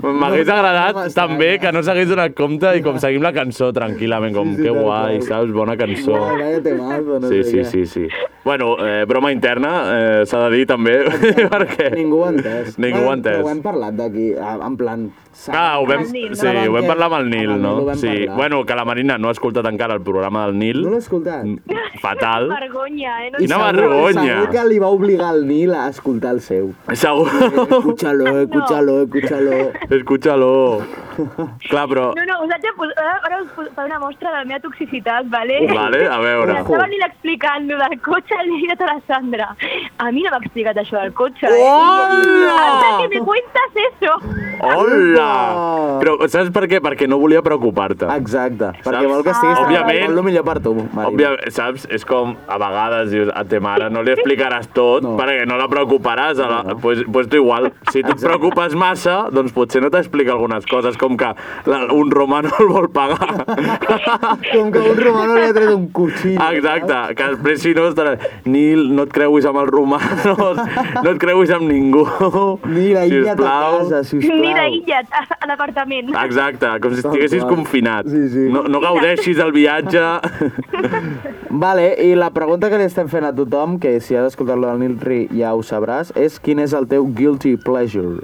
B: M'hagués agradat també que no s'hagués donat compte i com seguim la cançó tranquil·lament, com que guai, saps? Bona cançó.
C: Ah, vaya temazo, no
B: Sí,
C: sé
B: sí,
C: què.
B: sí, sí. Bueno, eh, broma interna, eh, s'ha de dir també, perquè...
C: Ningú ho ha entès.
B: Ningú ho ha
C: Bueno, però
B: entès.
C: Ho hem parlat d'aquí, a- en plan...
B: Ah, ho vam, sí, ho vam parlar amb el Nil,
C: Amb el
B: no?
C: Nil ho vam
B: sí.
C: parlar.
B: Bueno, que la Marina no ha escoltat encara el programa del Nil. No
C: l'ha escoltat.
B: Fatal.
H: Vergonya, eh? No
B: Quina
C: segur-
B: vergonya.
C: Segur que li va obligar el Nil a escoltar el seu.
B: Segur.
C: Escúchalo, escúchalo, escúchalo.
B: Escúchalo. Clar, però...
H: No, no, us haig de posar, ara- ara us pos- faré una mostra de la meva toxicitat, vale?
B: Vale, a veure.
H: Mira, Estava l'Il explicant lo del cotxe, li he dit a tota la Sandra. A mi no m'ha explicat això del cotxe, eh?
B: Hola!
H: Hasta que me cuentas eso.
B: Hola! Però saps per què? Perquè no volia preocupar-te.
C: Exacte, perquè vol que estiguis
B: Òbviament,
C: el millor per tu, Marina.
B: Òbviament, saps? És com, a vegades dius a ta mare no li explicaràs tot no. perquè no la preocuparàs. a La... No. Pues, pues tu igual, si tu et preocupes massa, doncs potser no t'explica algunes coses, com que la, un romà no el vol pagar.
C: Com que un romano li ha tret un cuchillo.
B: Ah, Exacte, que després si no estaràs... Nil, no et creuis amb els romanos, no et creuis amb ningú.
C: Nil, aïlla't a
B: sisplau.
C: casa, sisplau.
H: Mira, aïllat, a, a l'apartament.
B: Exacte, com si estiguessis
C: Tal qual.
B: confinat. Sí, sí. No, no gaudeixis del viatge.
C: Vale, i la pregunta que li estem fent a tothom, que si has escoltat lo del Nil Ri ja ho sabràs, és quin és el teu guilty pleasure?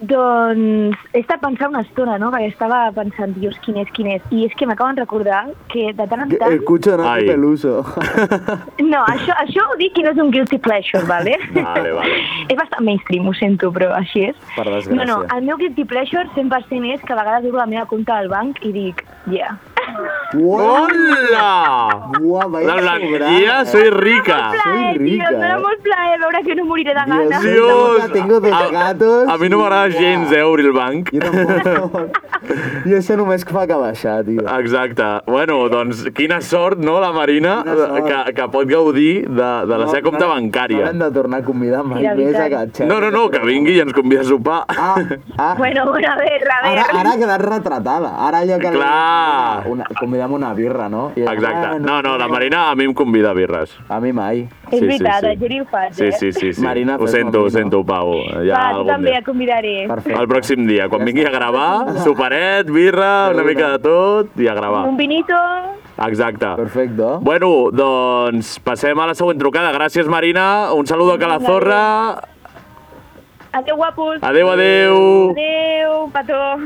H: Doncs he estat pensant una estona, no? Perquè estava pensant, dius, quin és, quin és. I és que m'acaben de recordar que de tant en tant...
B: eh,
C: Escucha Nati Peluso.
H: No, això, això ho dic que no és un guilty pleasure, vale?
C: Vale, vale.
H: És bastant mainstream, ho sento, però així és.
C: Per desgràcia.
H: No, no, el meu guilty pleasure 100% és que a vegades obro la meva compta al banc i dic, yeah.
B: Hola!
C: Ua, vaya
B: La Blanc,
C: sobrada,
B: ya
C: eh.
B: soy rica.
H: Plaer, tio, em dóna molt plaer veure que no moriré de gana.
B: Dios,
C: Tengo dos gatos.
B: a mi no m'agrada gens, eh, obrir el banc.
C: Jo tampoc. I això només fa que baixar, tio.
B: Ah, Exacte. Bueno, doncs, quina sort, no, la Marina,
C: Quina sort.
B: que, que pot gaudir de, de la seva compta
C: No
B: bancària.
C: l'hem de tornar a convidar mai
H: Sí, la
C: més a
H: veritat.
C: gatxar.
B: No, no, no, que vingui i ens convida a sopar.
C: Ah, ah.
H: Bueno, bueno, a ver, a ver.
C: Ara, ara ha quedat retratada. Ara allò que... li-
B: Clar.
C: Una, convidem una birra, no? I
B: Exacte. No, no, la Marina a mi em convida a birres.
C: A mi mai.
H: És veritat, eh, jo ni ho faig,
B: Sí,
H: eh?
B: sí, sí, sí.
C: Marina,
B: ho
C: fes-ho
B: sento, ho
C: amb mi, no?
B: sento, Pau. Ja
H: Va, tu
B: algun
H: també eh.
B: dia.
H: et convidaré.
B: El pròxim dia, quan vingui a gravar, soparet, birra, una mica de tot i a gravar.
H: Un vinito...
B: Exacte.
C: Perfecte.
B: Bueno, doncs passem a la següent trucada. Gràcies, Marina. Un saludo a la zorra.
H: Adéu, guapos.
B: Adéu, adéu.
H: Adéu, petó.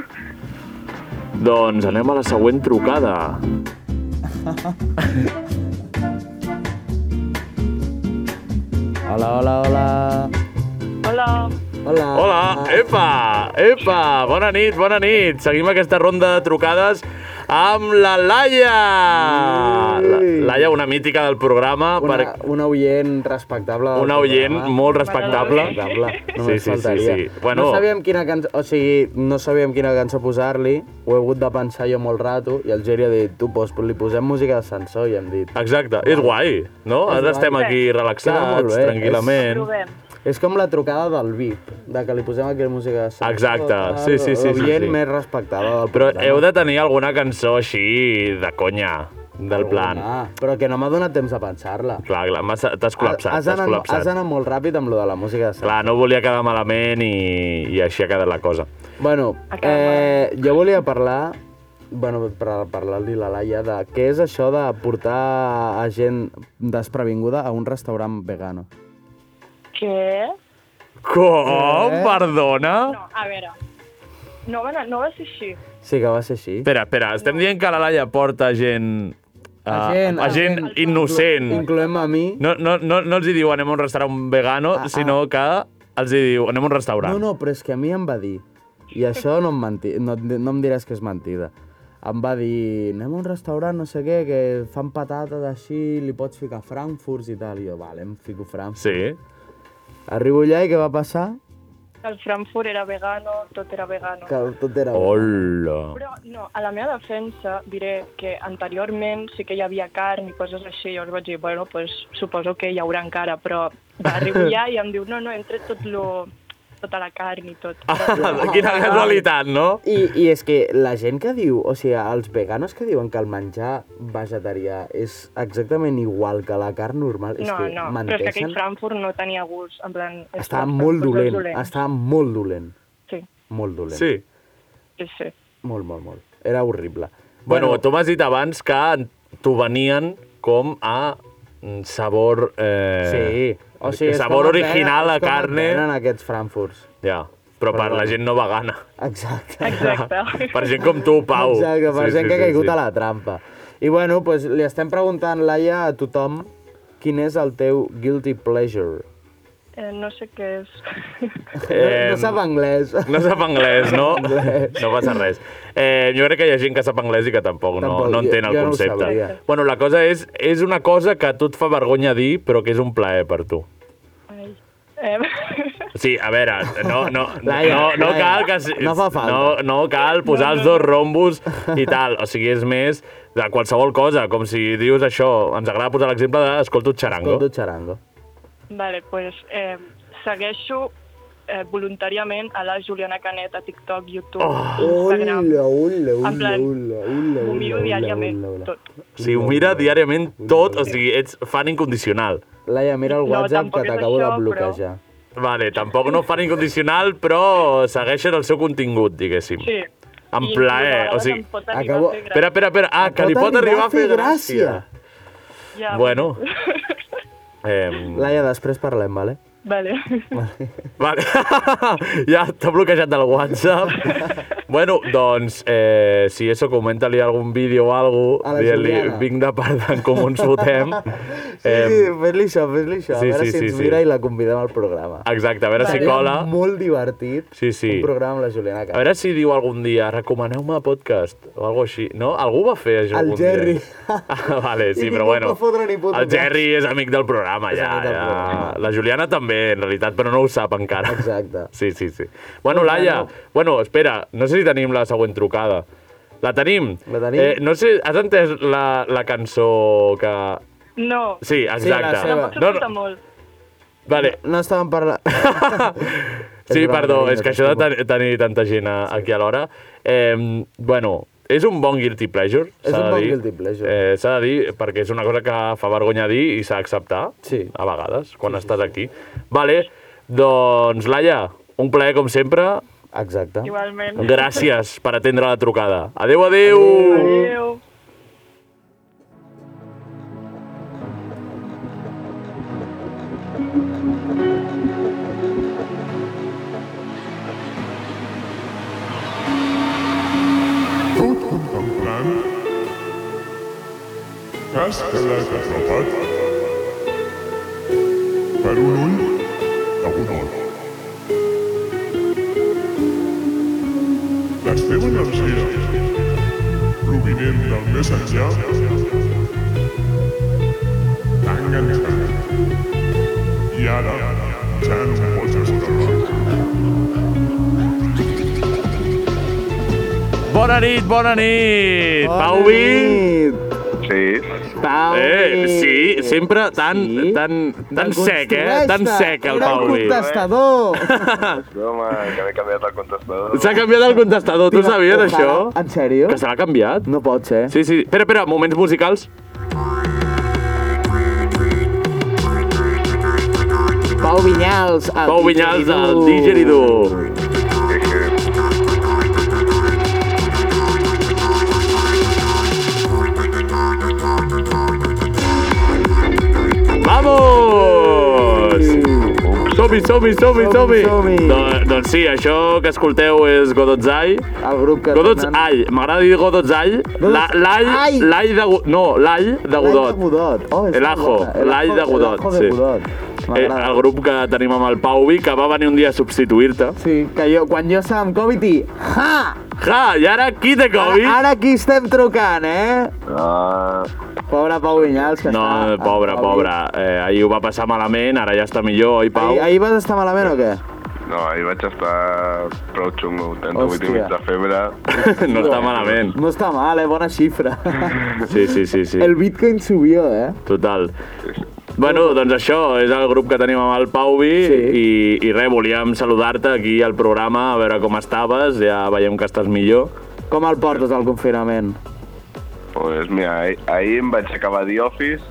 B: Doncs anem a la següent trucada.
C: Hola, hola, hola.
H: Hola.
C: Hola.
B: Hola, epa, epa, bona nit, bona nit. Seguim aquesta ronda de trucades amb la Laia. La, Laia, una mítica del programa.
C: Una,
B: per...
C: una oient respectable. del
B: Una oient
C: programa.
B: molt respectable.
C: respectable.
B: Sí,
C: Només
B: sí, sí,
C: faltaria.
B: sí. Bueno,
C: No sabíem quina cançó... O sigui, no sabíem quina cançó posar-li. Ho he hagut de pensar jo molt rato i el Geri ha dit, tu, pues, li posem música d'ascensor, i hem dit.
B: Exacte, és guai, no?
C: És
B: Ara estem
C: guai.
B: aquí
C: Queda molt
B: relaxats,
C: bé.
B: tranquil·lament.
C: És com la trucada del VIP, de que li posem aquella música d'ascensor.
B: Exacte,
C: tal,
B: sí, sí, sí, sí,
C: L'oient
B: sí.
C: més respectable del
B: Però
C: programa.
B: heu de tenir alguna cançó així de conya, del plan.
C: Ah, però que no m'ha donat temps de pensar-la.
B: Clar, clar, m'has- t'has col·lapsat,
C: Has
B: t'has
C: anat, has
B: col·lapsat.
C: anat molt ràpid amb lo de la música d'ascensor.
B: Clar, no volia quedar malament i, i així ha quedat la cosa.
C: Bueno, eh, jo volia parlar bueno, per parlar-li a la Laia de què és això de portar a gent desprevinguda a un restaurant vegano.
J: Què?
B: Com?
C: Eh?
B: Perdona?
J: No, a veure. No va, anar- no va ser així.
C: Sí que va ser així.
B: Espera, espera, estem dient que la Laia porta gent...
C: A gent,
B: a
C: a
B: gent innocent.
C: Incloem a mi.
B: No, no, no, no els hi diu anem a un restaurant vegano, ah, sinó que els hi diu anem a un restaurant.
C: No, no, però és que a mi em va dir, i això no em, menti, no, no em diràs que és mentida, em va dir, anem a un restaurant, no sé què, que fan patates així, li pots ficar frankfurts i tal. I jo, vale, em fico frankfurt. Sí. Arribo allà i què va passar?
J: El Frankfurt era vegano, tot era vegano.
C: Que tot era... Hola.
J: Però, no, a la meva defensa diré que anteriorment sí que hi havia carn i coses així, i llavors vaig dir, bueno, pues, suposo que hi haurà encara, però va arribar allà i em diu, no, no, hem tret tot lo, tota la carn i tot.
C: Ah,
B: Quina casualitat, no?
C: I, I és que la gent que diu, o sigui, els veganos que diuen que el menjar vegetarià és exactament igual que la carn normal, és
J: No,
C: que
J: no, però és que aquell
C: menteixen.
J: Frankfurt no tenia gust, en plan... és
C: Estava
J: Frankfurt,
C: molt
J: però és
C: dolent, estava molt dolent,
J: Sí,
C: molt dolent.
B: Sí.
J: sí, sí.
C: Molt, molt, molt. Era horrible.
B: Bueno, tu m'has dit abans que t'ho venien com a mm, sabor... Eh,
C: Sí. O sigui, és
B: sabor
C: com et
B: original
C: venen-
B: a
C: és com et
B: carne.
C: venen aquests frankfurts.
B: Ja, però, per la gent no vegana.
C: Exacte.
J: Exacte.
B: per gent com tu, Pau.
C: Exacte, per
B: Sí,
C: gent
B: sí,
C: que ha
B: sí,
C: caigut
B: sí.
C: a la trampa. I bueno, pues, li estem preguntant, Laia, a tothom quin és el teu guilty pleasure.
J: Eh, no sé què és.
C: Eh, no sap anglès.
B: No sap anglès, no? No passa res. Eh, jo crec que hi ha gent que sap anglès i que tampoc,
C: Tampoc,
B: no, no entén
C: jo-
B: el
C: jo no ho
B: concepte.
C: sabria.
B: bueno, la cosa és, és una cosa que a tu et fa vergonya dir, però que és un plaer per tu.
J: Ai. Eh,
B: Sí, a veure, no, no,
C: Laia,
B: no, no
C: Laia,
B: cal que... si-
C: no fa falta.
B: No, no cal posar els dos rombos i tal. O sigui, és més de qualsevol cosa, com si dius això. Ens agrada posar l'exemple de escolto xarango.
C: Escolto xarango.
J: Vale, pues, eh, segueixo eh, voluntàriament a la Juliana Canet a TikTok, YouTube,
C: Oh,
J: Instagram.
C: ula, ula, ula,
J: En plan,
C: ula, ula,
J: Ho miro
C: ula,
J: diàriament
C: ula, ula.
J: tot.
B: Si ho mira diàriament tot, o sigui, ets fan incondicional.
C: Laia, mira el
J: No,
C: WhatsApp
J: tampoc
C: que
J: és
C: t'acabo de
J: això, però-
C: bloquejar.
B: Vale, tampoc no fan incondicional, però segueixen el seu contingut, diguéssim.
J: Sí.
B: Amb
J: I
B: plaer,
J: a
B: o
J: vegades
B: sigui...
J: em pot arribar Acabo- a fer gràcia.
B: Espera, espera, espera. Ah, que li pot arribar a fer gràcia.
J: Ja,
B: Bueno. Eh,
C: Mm. Laia, després parlem, vale?
J: Vale.
B: vale. ja t'ha bloquejat del WhatsApp. bueno, doncs, eh, si eso, comenta-li algun vídeo o algo,
C: A la
B: dient-li,
C: Juliana.
B: vinc de part d'en com ens fotem.
C: Sí, sí, fes-li això, fes-li
B: sí,
C: això. a veure
B: sí,
C: si
B: sí,
C: ens
B: sí.
C: mira i la convidem al programa.
B: Exacte, a veure si
C: Seria
B: cola.
C: molt divertit
B: Sí, sí.
C: un programa amb la Juliana
B: A
C: Cala.
B: veure si diu algun dia, recomaneu-me podcast o alguna així. No? Algú va fer això
C: El
B: algun
C: Jerry.
B: dia. Ah, vale, sí,
C: I
B: però
C: ningú
B: bueno.
C: va fotre ni puto
B: El
C: cas.
B: Jerry és amic del programa, ja.
C: amic del
B: ja. La Juliana també, en realitat, però no ho sap encara.
C: Exacte.
B: Sí, sí, sí. Bueno, Laia, bueno, espera, no sé si tenim la següent trucada. La tenim? La
C: tenim?
B: Eh, no sé, has entès la, la cançó que...
J: No.
B: Sí, exacte.
C: Sí, la seva.
J: No, no. molt.
B: Vale,
C: No estàvem parlant...
B: Sí,
C: És broma,
B: perdó,
C: carinyo,
B: és que això de ten tenir tanta gent a, aquí a l'hora... Eh, bueno, és un bon guilty pleasure,
C: És
B: s'ha
C: un
B: de
C: bon
B: dir.
C: guilty pleasure.
B: Eh, s'ha de dir, perquè és una cosa que fa vergonya dir i s'ha d'acceptar, sí. a vegades, quan sí, estàs sí. aquí. Vale, doncs, Laia, un plaer com sempre.
C: Exacte.
J: Igualment.
B: Gràcies per atendre la trucada. Adeu, adeu!
J: Adéu.
K: contemplant que has quedat atrapat per un ull de bonot. La teva energia provinent del més enllà t'ha enganxat i ara ja no em pots estorbar.
B: Bona nit, bona nit! Bona Pauvi!
L: Sí.
C: Pau.
B: Eh, sí, sempre tan, sí? tan, tan sec, eh? Tan sec, el Pauvi.
C: contestador!
L: No, home, que m'he canviat el contestador.
B: S'ha canviat el contestador, tu
C: Tio,
B: sabies
C: ojalà.
B: això?
C: En sèrio?
B: Que se l'ha canviat?
C: No eh? pot ser.
B: Sí, sí. Espera, espera, moments musicals.
C: Pau Vinyals. el
B: Pau Vinyals, el
C: didgeridoo.
B: Digeridoo. Vamos! Som-hi, som-hi, som-hi, som-hi! Do- doncs sí, això que escolteu és Godots All. El grup que Godots
C: tenen.
B: All. M'agrada dir Godots All. La- L'all,
C: All.
B: l'all de... Gu- No, l'all de Godot.
C: Godot. Oh, és
B: El ajo,
C: molt bona. El
B: l'all
C: ajo-
B: de Godot.
C: el ajo de Godot.
B: Eh,
C: M'agrada.
B: el grup que tenim amb el Pau Vi, que va venir un dia a substituir-te.
C: Sí, que jo, quan jo estava amb Covid i... Ja!
B: Ja, i ara qui té Covid?
C: Ara, ara aquí estem trucant, eh?
B: Ah.
C: Pobre Pau Vinyals, que
B: No, eh,
C: està...
B: pobre, pobre. Eh, ahir ho va passar malament, ara ja està millor, oi, Pau?
C: Ahir, ahir vas estar malament o què?
L: No, ahir vaig estar prou xungo, 38 i
C: Hòstia.
L: mig de febre.
B: No està malament.
C: No està mal, eh? Bona xifra.
B: Sí, sí, sí, sí.
C: El bitcoin subió, eh?
B: Total. Bueno, doncs això és el grup que tenim amb el Pauvi sí. i, i res, volíem saludar-te aquí al programa, a veure com estaves, ja veiem que estàs millor.
C: Com el portes, el confinament?
L: Pues mira, ahir, ahir em vaig acabar The Office.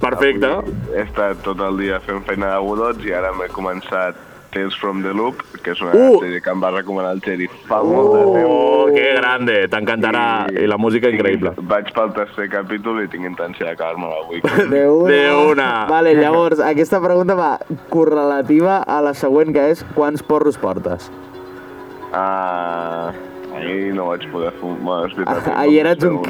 B: Perfecte.
L: Avui he estat tot el dia fent feina de godots i ara m'he començat Tales from the Loop, que és una
B: Uh!
L: sèrie que em va recomanar el Xeri fa uh! molt de temps.
B: Oh, que grande, t'encantarà, i la música increïble.
L: Vaig pel tercer capítol i tinc intenció d'acabar-me-la avui.
C: De una.
B: De una.
C: Vale, llavors, aquesta pregunta va correlativa a la següent, que és quants porros portes?
L: Ah, ahir no vaig poder fumar, és veritat.
C: Ah, Ahir eres un...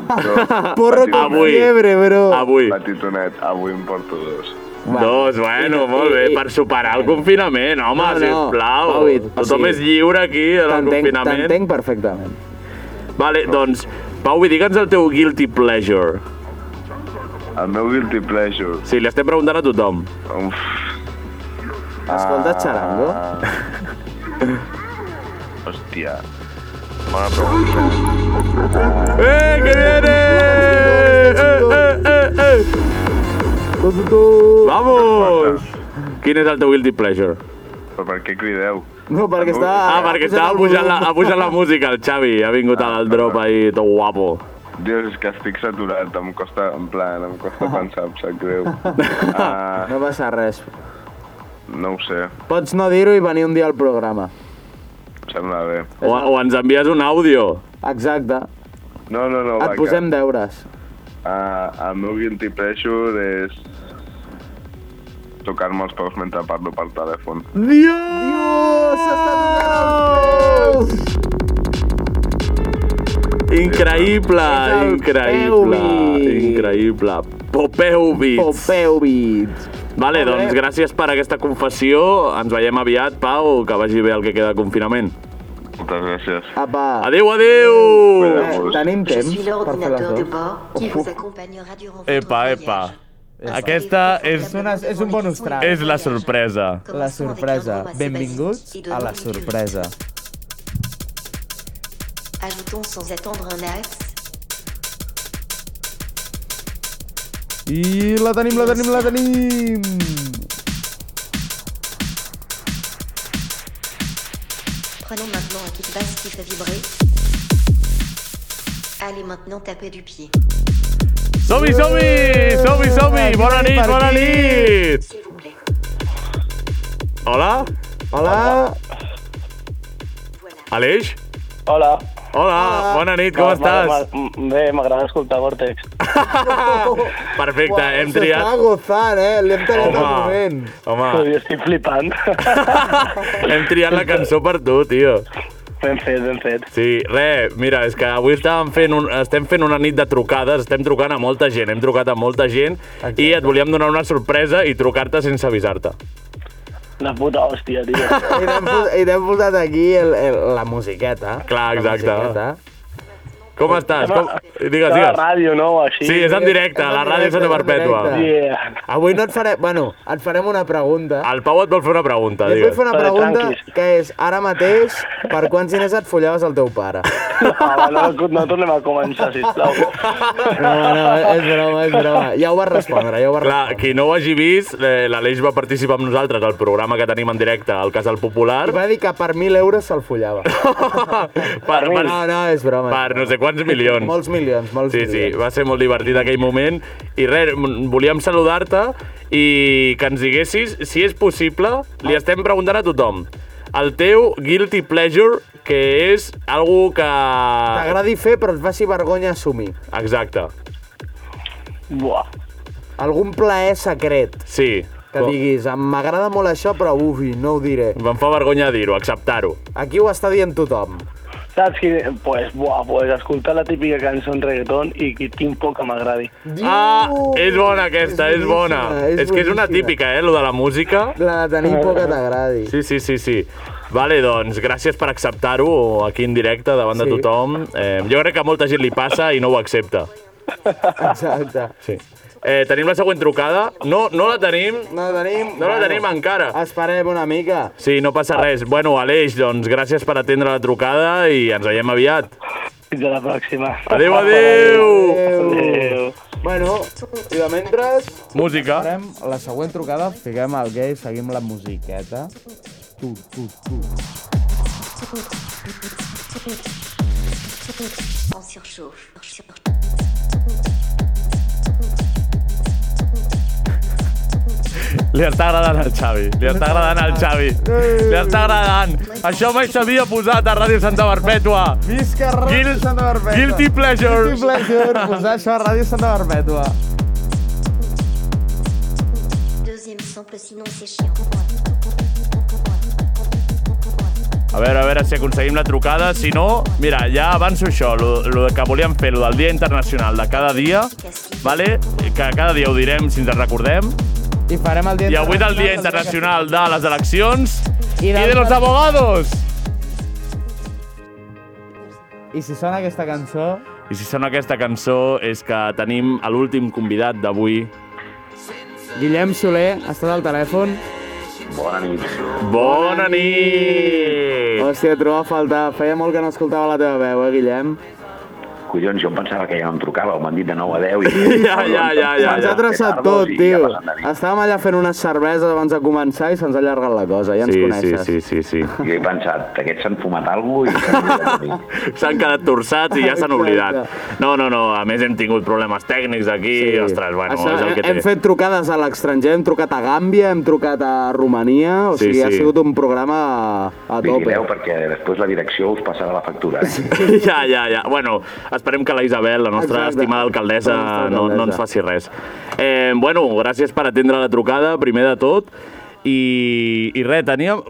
L: Porro
C: con fiebre, bro.
B: Avui.
L: Petitonet, avui em porto dos.
B: Dos, bueno, molt bé, per superar el confinament, home,
C: No, no,
B: sisplau.
C: Pauvi, o
B: Tothom
C: sigui,
B: és lliure aquí en el
C: T'entenc
B: confinament.
C: t'entenc perfectament.
B: Vale, doncs, Pau, digue'ns el teu guilty pleasure.
L: El meu guilty pleasure?
B: Sí, li estem preguntant a tothom.
L: Uf.
B: Ah.
C: Escolta, xarango.
L: Hòstia. Bona pregunta.
B: ¡Eh, que viene! ¡Eh, eh, eh, eh! ¡Vamos! Quin és el teu guilty pleasure?
L: Però per què crideu?
C: No, perquè està...
B: Ah, perquè estava pujant la, ha pujat la música, el Xavi. Ha vingut al drop ahí, tot guapo.
L: Dios, és que estic saturat, em costa, en plan, em costa pensar, em sap greu. Ah,
C: No passa res.
L: no ho sé,
C: Pots no dir-ho i venir un dia al programa.
L: em sembla bé.
B: O, o ens envies un àudio.
C: Exacte.
L: No, no,
B: Oh
L: no, va,
C: Et posem deures.
L: que, ah, el meu guilty pleasure és tocar-me els peus mentre parlo per telèfon.
B: Dios! Increïble, increïble, increïble. Popeu Beats.
C: Popeu Beats.
B: Vale, doncs gràcies per aquesta confessió. Ens veiem aviat, Pau, que vagi bé el que queda de confinament.
L: Moltes gràcies.
C: Apa.
B: Adéu, adéu!
C: Eh, tenim temps per fer les dues.
M: Epa, epa. Aquesta és,
I: Una, és un bonus track.
M: és la sorpresa.
I: La sorpresa. Benvinguts a la sorpresa.
H: Ajoutons sans attendre un axe.
I: I la tenim, la tenim, la tenim!
H: Prenons maintenant un kit basse qui fait vibrer. Allez maintenant taper du pied.
M: Som-hi, som-hi! Som-hi, som-hi! Bona nit, bona nit!
B: Hola?
C: Hola?
B: Aleix?
D: Hola.
B: Hola, bona nit, com estàs? Ah.
D: Bé, m'agrada escoltar Vortex.
B: Perfecte, hem
C: S'està
B: triat,
C: gozant, eh? L'hem tallat al
B: Home.
C: moment.
B: home,
D: Jo estic flipant.
B: hem triat la cançó per tu, tio.
D: ben fet, ben fet.
B: Sí, re, mira, és que avui estàvem fent un, estem fent una nit de trucades, estem trucant a molta gent, hem trucat a molta gent Exacte. i et volíem donar una sorpresa i trucar-te sense avisar-te.
D: La puta hòstia, tio.
C: I t'hem pos- I t'hem posat aquí el, el, la musiqueta.
B: Clar,
C: La
B: exacte.
C: musiqueta.
B: Com estàs? Com... Digues,
D: Està a la
B: digues.
D: ràdio, no? Així.
B: Sí, és en directe, a la ràdio Santa Perpètua.
D: Yeah.
C: Avui no et farem... Bueno, et farem una pregunta.
B: El Pau et vol fer una pregunta,
C: Jo et vull
B: digues.
C: fer una pregunta que és, ara mateix, per quants diners et follaves el teu pare?
D: Home, no, no tornem a començar, sisplau.
C: No, no, és broma, és broma. Ja ho vas respondre, ja ho vas respondre.
B: Clar, qui no ho hagi vist, eh, l'Aleix va participar amb nosaltres al programa que tenim en directe al Casal Popular.
C: I va dir que per 1.000 euros se'l follava.
B: Per, per,
C: No, no, és broma.
B: per no sé quants milions.
C: Molts milions, molts
B: Sí, sí, va ser molt divertit aquell moment. I res, m- volíem saludar-te i que ens diguessis, si és possible, li estem preguntant a tothom, el teu guilty pleasure, que és algú que...
C: T'agradi fer, però et faci vergonya assumir.
B: Exacte.
D: Buah.
C: algun plaer secret.
B: Sí.
C: Que diguis, "Em- m'agrada molt això, però ufi, no ho diré.
B: Em fa vergonya dir-ho, acceptar-ho.
C: Aquí ho està dient tothom.
D: Saps qui... Pues, buah, pues escoltar la típica cançó en reggaeton i qui tinc por que m'agradi.
B: Ah, és bona aquesta, és, bona. És,
C: és
B: que és una
C: boníssima.
B: típica, eh, lo de la música.
C: La de tenir por que t'agradi.
B: Sí, sí, sí, sí. Vale, doncs gràcies per acceptar-ho aquí en directe davant de
C: Sí.
B: tothom. Eh, jo crec que a molta gent li passa i no ho accepta.
C: Exacte.
B: Sí. Eh, tenim la següent trucada? No, no la tenim.
C: No la tenim?
B: No la tenim ah. encara.
N: Ah.
C: Esperem una mica.
B: Sí, no passa res. Bueno, Aleix, doncs gràcies per atendre la trucada i ens veiem aviat.
D: Fins a la pròxima.
B: Adéu, adéu!
C: Adéu. Bueno, i de mentre...
B: Música.
N: Farem la següent trucada, fiquem el gay, seguim la musiqueta. Tu, tu, tu.
K: En surchauffe.
O: Li està agradant al Xavi. Li està agradant al Xavi. Li està agradant. Això mai s'havia posat a Ràdio Santa Barpètua.
N: Visca Ràdio
O: Guil-
N: Santa Barbeta.
O: Guilty pleasures.
N: Guilty pleasure, posar això a Ràdio Santa Barbètua.
K: Deuxième sample, sinon c'est chiant.
O: A veure, a veure si aconseguim la trucada. Si no, mira, ja avanço això, lo, lo que volíem fer, lo del Dia Internacional de cada dia, vale? que cada dia ho direm si ens en recordem.
N: I farem el Dia
O: I avui del Dia Internacional de les Eleccions i, de los abogados.
N: I si sona aquesta cançó...
O: I si sona aquesta cançó és que tenim a l'últim convidat d'avui.
C: Guillem Soler, estàs al telèfon?
P: Bona nit.
B: Bona nit!
C: Hòstia, trobava a faltar. Feia molt que no escoltava la teva veu, eh, Guillem?
P: Collons, jo em pensava que ja no em trucàveu, m'han dit de 9 a 10 i...
B: Ja, ja, ja, ja,
C: Ens
B: ja.
C: ha traçat tot, tio. Estàvem allà fent unes cerveses abans de començar i se'ns ha allargat la cosa, ja ens
B: Sí, sí,
C: coneixes.
B: sí, sí, sí.
P: Jo he pensat, aquests s'han fumat alguna cosa
B: S'han quedat torçats i ja s'han oblidat. No, no, no, a més hem tingut problemes tècnics aquí, sí. ostres, bueno,
C: Això, eh,
B: és el que té.
C: hem fet trucades a l'estranger, hem trucat a Gàmbia, hem trucat a Romania, o
B: Sí,
C: sigui, ha
B: sí.
C: sigut un programa a, a
P: i
C: tope.
P: vigileu perquè després la direcció us passarà la factura. eh?
B: Ja, ja, ja. Bueno, esperem que la Isabel, la nostra
P: Exacte.
B: estimada alcaldessa,
P: La nostra
B: no, no ens
P: alcaldessa.
B: faci res. Eh, bueno, gràcies per atendre la trucada, primer de tot. I, i res, teníem...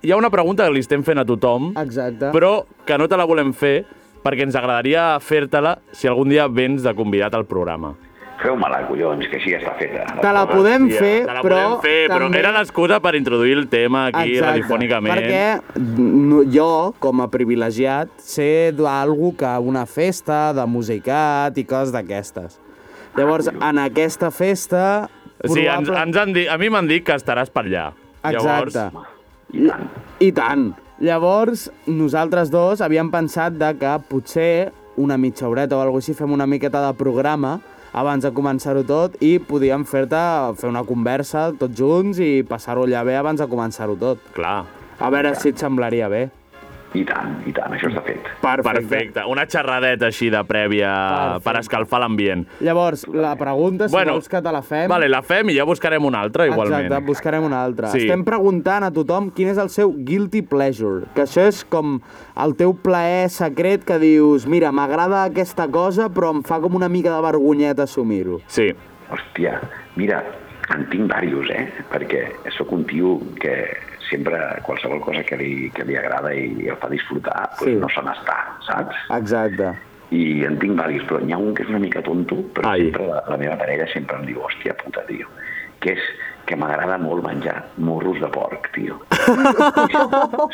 B: Hi ha una pregunta que li estem fent a tothom,
C: Exacte.
B: però que no te la volem fer perquè ens agradaria fer-te-la si algun dia vens de convidat al programa.
P: Feu-me-la, collons, que així ja està feta.
C: Te la podem fer,
B: te la
C: però
B: podem fer, però
C: també-
B: era l'excusa per introduir el tema aquí
C: Exacte,
B: radiofònicament.
C: Perquè no- jo, com a privilegiat, sé d'algú que una festa de musicat i coses d'aquestes. Llavors, en aquesta festa...
B: Sí, ens,
C: probable-
B: ens han dit, a mi m'han dit que estaràs per allà. Llavors,
C: Exacte. I, I tant. Llavors, nosaltres dos havíem pensat de que potser una mitja horeta o alguna així fem una miqueta de programa abans de començar-ho tot i podíem fer-te fer una conversa tots junts i passar-ho allà bé abans de començar-ho tot.
B: Clar.
C: A veure si et semblaria bé.
P: I tant, i tant, això està fet.
B: Perfecte. Perfecte. Una xerradeta així de prèvia per escalfar l'ambient.
C: Llavors, la pregunta, si
B: Bueno,
C: vols que te la fem...
B: Vale, la fem i ja buscarem una altra, igualment.
C: Exacte, buscarem una altra.
B: Sí.
C: Estem preguntant a tothom quin és el seu guilty pleasure, que això és com el teu plaer secret que dius, mira, m'agrada aquesta cosa, però em fa com una mica de vergonyeta assumir-ho.
B: Sí.
P: Hòstia, mira, en tinc diversos, eh? Perquè sóc un tio que sempre qualsevol cosa que li, que li agrada i el fa disfrutar, doncs no se n'està, saps?
C: Exacte.
P: I en tinc diversos, però n'hi ha un que és una mica tonto, però sempre la, la meva parella sempre em diu, hòstia puta, tio, que és que m'agrada molt menjar morros de porc, tio.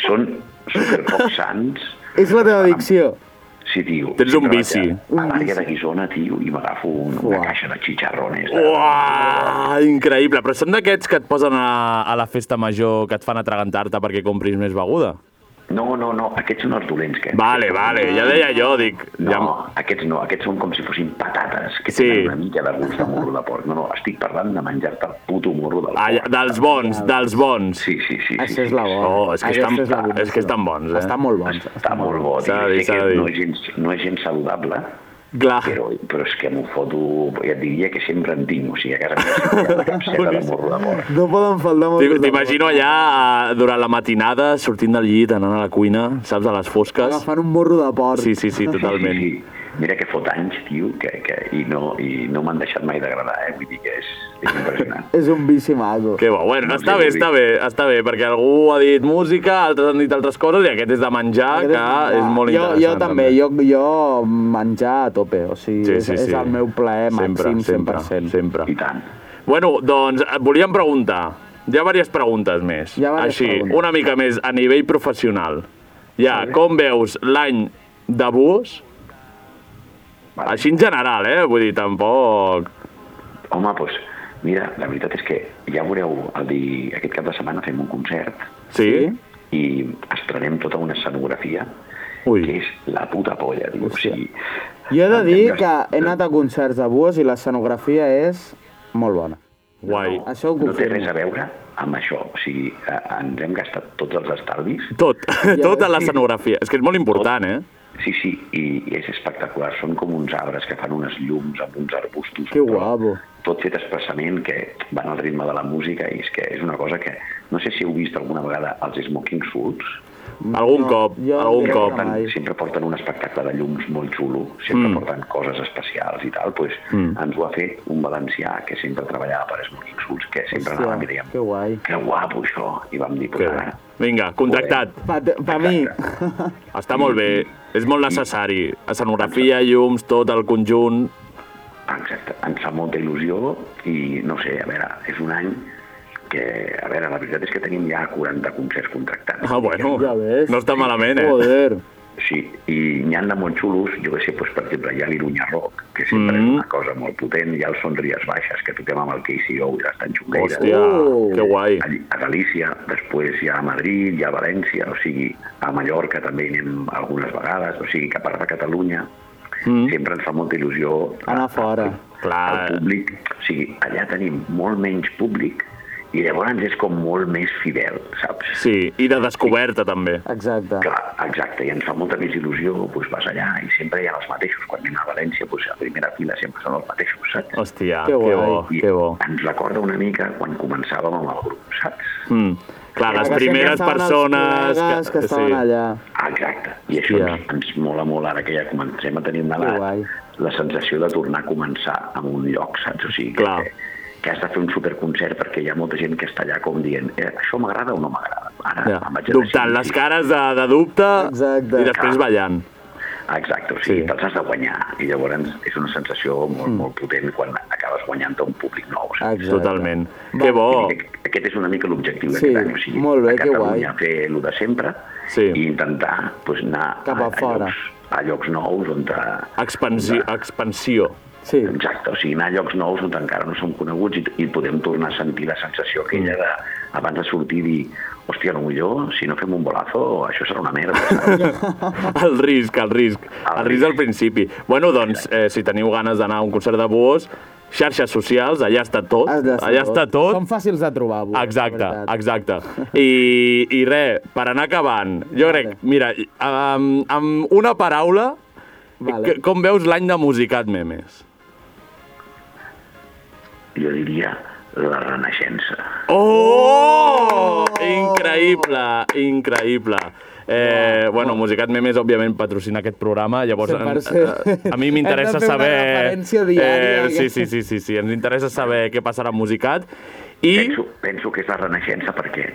P: Són superpoc sants,
C: És la teva addicció.
P: Sí, tio.
B: Tens un
P: Sempre
B: vici.
P: vaig A a l'àrea de Guisona, tio, i m'agafo un, una caixa de xicharrones. De...
B: Uah, increïble. Però són d'aquests que et posen a, a la festa major, que et fan atragantar-te perquè compris més beguda?
P: No, no, no, aquests són els dolents. Que...
B: Vale, vale, ja deia jo, dic...
P: No, ja... aquests no, aquests són com si fossin patates, que sí. tenen una mica de gust de morro de porc. No, no, estic parlant de menjar-te el puto morro del
B: Ah, ja,
P: porc.
B: dels bons, dels bons.
P: Sí, sí, sí.
C: Això és la bona.
B: Oh, és que,
C: Aquesta
B: estan,
C: és la bona
B: és que estan bons, eh?
C: Està molt bons.
P: Està molt bo, tio.
B: S'ha de dir,
P: Sé
B: s'ha de
P: que
B: dir.
P: no és gens, no és gens saludable,
B: Clar.
P: Però, però és que m'ho foto, ja et diria que sempre en tinc, o sigui, a casa meva sempre hi ha la capseta de morro de porc.
C: No poden faltar molt.
B: T'i- T'imagino allà, eh, durant la matinada, sortint del llit, anant a la cuina, saps, a les fosques.
C: Agafant un morro de porc.
B: Sí, sí, sí, totalment.
P: Sí, sí, sí. Mira que fot anys, tio, que, que, i no, i no m'han deixat mai d'agradar, eh? Vull dir que és, és impressionant.
C: És un bici maco.
B: Que bo, bueno, està bé, està bé, està bé, perquè algú ha dit música, altres han dit altres coses i aquest és de menjar,
C: Aquest
B: que Ah, és, molt
C: jo,
B: interessant.
C: jo també, jo, jo menjar a tope, o sigui,
B: Sí,
C: sí,
B: sí,
C: sí, és,
B: sí.
C: és el meu plaer
B: Sempre,
C: màxim, 100%.
B: sempre, sempre.
P: I tant.
B: Bueno, doncs et volíem preguntar, hi ha diverses preguntes més,
C: Hi ha diverses
B: així,
C: preguntes.
B: una mica més a nivell professional. Ja, com veus l'any de Bus? Així en general, eh? Vull dir, tampoc...
P: Home, doncs, mira, la veritat és que ja veureu, el di... aquest cap de setmana fem un concert.
B: Sí?
P: I estrenem tota una escenografia
B: Ui.
P: que és la puta polla, tio. O sigui,
C: Jo
B: Ah,
C: he de dir que he anat a concerts de Buos i l'escenografia és molt bona.
B: Guai.
C: Això ho
P: no té
C: confirmo.
P: res a veure amb això. O sigui, eh, ens hem gastat tots els estalvis.
B: Tot, tota l'escenografia. És que és molt important, eh?
P: Sí, sí, i i és espectacular. Són com uns arbres que fan unes llums amb uns arbustos.
C: Que guapo.
P: Tot fet expressament, que van al ritme de la música, i és que és una cosa que... No sé si heu vist alguna vegada els Smoking Suits.
B: Algun No, cop, jo algun no cop.
P: Porten, sempre porten un espectacle de llums molt xulo, sempre mm. porten coses especials i tal, doncs mm.
B: Mm.
P: ens ho ha fet un valencià que sempre treballava per Smoking Suits, que sempre
C: Hòstia,
P: anàvem i dèiem, que,
C: guai.
P: que guapo això, i vam dir,
B: Que
P: pues, ara,
B: Vinga, contactat.
C: Per, per mi.
B: Està molt bé, és molt necessari. Escenografia, llums, tot el conjunt...
P: Exacte, ens fa molta il·lusió i no sé, a veure, és un any que, a veure, la veritat és que tenim ja 40 concerts contractats.
B: Ah, bueno, no està malament, eh?
C: Joder.
P: Sí, i n'hi ha de molt xulos, jo que sé, doncs, per exemple, hi ha l'Irunya Rock, que sempre mm. és una cosa molt potent, hi ha els Sonries Baixes, que toquem amb el KCO i les Tanxongueres.
B: Hòstia,
P: Oh.
B: Uh. que guai.
P: A, a Galícia, després hi ha a Madrid, hi ha a València, o sigui, a Mallorca també hi anem algunes vegades, o sigui, que a part de Catalunya mm. sempre ens fa molta il·lusió
C: Anar fora.
B: Clar.
P: el públic, o sigui, allà tenim molt menys públic i llavors és com molt més fidel, saps?
B: Sí, i de descoberta, també.
C: Exacte.
P: Clar, exacte, i ens fa molta més il·lusió, doncs vas allà i sempre hi ha els mateixos. Quan anem a València, doncs a primera fila sempre són els mateixos, saps?
B: Hòstia, Que que guai. bo,
P: I
B: que bo.
P: Ens recorda una mica quan començàvem amb el grup, saps?
B: Mm. Clar, les
P: Perquè
B: primeres
P: sempre estaven els
B: persones...
P: col·legues que estaven
C: allà.
P: Exacte, i això
B: Hòstia.
P: ens, ens mola molt ara que ja comencem a tenir una edat, la sensació de tornar a començar en un lloc, saps? O sigui, que, que, que has de fer un superconcert perquè hi ha molta gent que està allà com dient eh, això m'agrada o no m'agrada? Ara
B: Ja.
P: em vaig a
B: Dubtant, les cares de, de dubte Exacte. i després ballant.
P: Exacte, o sigui, sí. te'ls has de guanyar i llavors és una sensació molt, mm. molt potent quan acabes guanyant a un públic nou. Saps?
B: Totalment. Que bo.
P: Aquest és una mica l'objectiu
C: Sí,
P: d'aquest any, o sigui,
C: molt bé,
P: a
C: que
P: Catalunya fer el de sempre
B: sí.
P: i intentar pues, anar
C: Cap a fora.
P: Llocs, a llocs nous on... Te,
B: Expansió. expansió.
C: Sí.
P: Exacte, o sigui, anar a llocs nous on encara no som coneguts i, i podem tornar a sentir la sensació aquella de, abans de sortir, dir, hòstia, no millor, si no fem un bolazo, això serà una merda.
B: El risc, el risc. El risc al principi. Bueno, doncs, eh, si teniu ganes d'anar a un concert de Buos, xarxes socials, allà està tot. Allà està tot.
C: Són fàcils de trobar, Buos.
B: Exacte, exacte. I, i res, per anar acabant, jo crec, mira, i- amb, amb una paraula,
C: Vale.
B: que- com veus l'any de Musicat Memes?
P: Jo diria la renaixença.
B: Oh! Increïble, increïble. Eh, bueno, Musicat Memes, òbviament, patrocina aquest programa, llavors em-
C: 100%.
B: eh, a mi m'interessa
C: Hem de fer una
B: saber... Eh,
C: referència diària,
B: sí,
C: aquesta.
B: sí, sí, sí, sí, ens interessa saber què passarà amb Musicat. I...
P: Penso, penso que és la renaixença perquè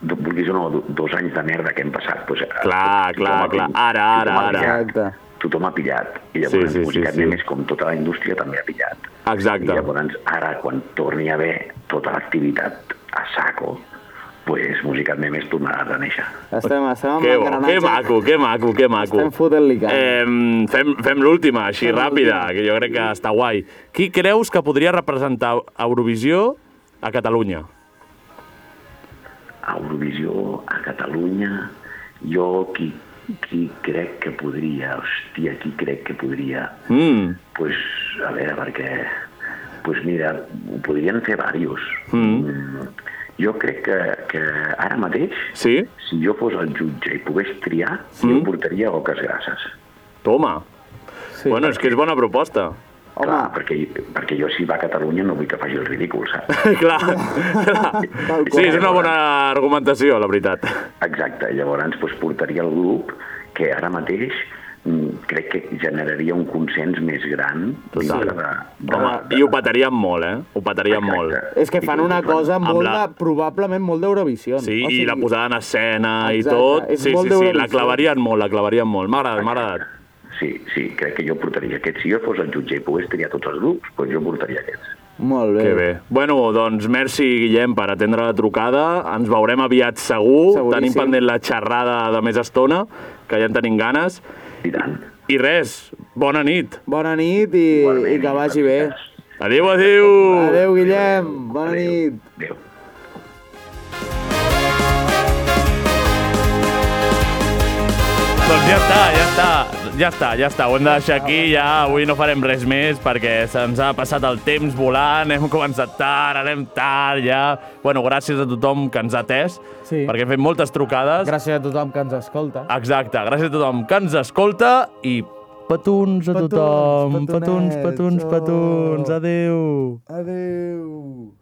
P: do- vulguis o no, do- dos anys de merda que hem passat. Doncs, eh,
B: Clar,
P: tothom
B: clar,
P: ha-
B: clar. Ara, ara,
P: tothom ha
B: ara.
P: pillat,
C: Exacte.
P: Tothom ha pillat. I
B: Sí,
P: llavors,
B: sí, sí,
P: sí, sí,
B: sí.
P: sí, més com tota la indústria també ha pillat.
B: Exacte.
P: I llavors, ara, quan torni a haver tota l'activitat a saco, pues, Musicat Memes tornarà a reneixer.
C: Estem, estem amb
B: Que bo,
C: l'engranatge.
B: que maco, que maco, que maco.
C: Estem fotent-li cara.
B: Eh, fem fem l'última, així, ràpida, que jo crec que està guai. Qui creus que podria representar Eurovisió a Catalunya?
P: A Eurovisió, a Catalunya, jo qui, qui crec que podria, hòstia, qui crec que podria
B: Mm.
P: Pues, a veure, perquè... Pues mira, ho podrien fer diversos. Mm. Jo crec que, que ara mateix,
B: sí?
P: si jo fos el jutge i pogués triar, mm. jo portaria oques grasses.
B: Toma. Sí. Bueno, és que és bona proposta.
P: Home. Clar, perquè, perquè jo si va a Catalunya no vull que faci el ridícul, saps?
B: clar, clar. Sí, és una bona argumentació, la veritat.
P: doncs, Exacte, llavors pues, portaria el grup que ara mateix mm, crec que generaria un consens més gran
B: Total.
P: dintre de, de,
B: Home, i ho petaríem molt, eh? Ho petaríem molt.
C: És que fan una cosa molt de, probablement molt d'Eurovisió.
B: Sí, o sigui, i la posada en escena
C: Exacte,
B: i tot.
C: és
B: Sí,
C: molt
B: sí, sí, la
C: d'Eurovisió.
B: clavarien molt, la clavarien molt. M'ha agradat, m'ha agradat.
P: Sí, sí, crec que jo portaria aquests. Si jo fos el jutge i pogués triar tots els grups, doncs jo portaria aquests.
C: Molt
B: bé. Que bé. Bueno, doncs merci, Guillem, per atendre la trucada. Ens veurem aviat segur.
C: Seguríssim.
B: Tenim pendent la xerrada de més estona, que ja en tenim ganes.
P: I tant.
B: I res, bona nit.
C: Bona nit i, i que vagi bé.
B: Adéu, adéu.
C: Adéu, Guillem. Bona nit.
B: Doncs ja està, ja està, ja està, ja està, ho hem de deixar aquí, ja avui no farem res més perquè se'ns ha passat el temps volant, hem començat tard, anem tard, ja... Bueno, gràcies a tothom que ens ha atès, sí. perquè hem fet moltes trucades.
C: Gràcies a tothom que ens escolta.
B: Exacte, gràcies a tothom que ens escolta i petons oh. a tothom, petons, petons, petons, petons. adéu.
C: Adéu.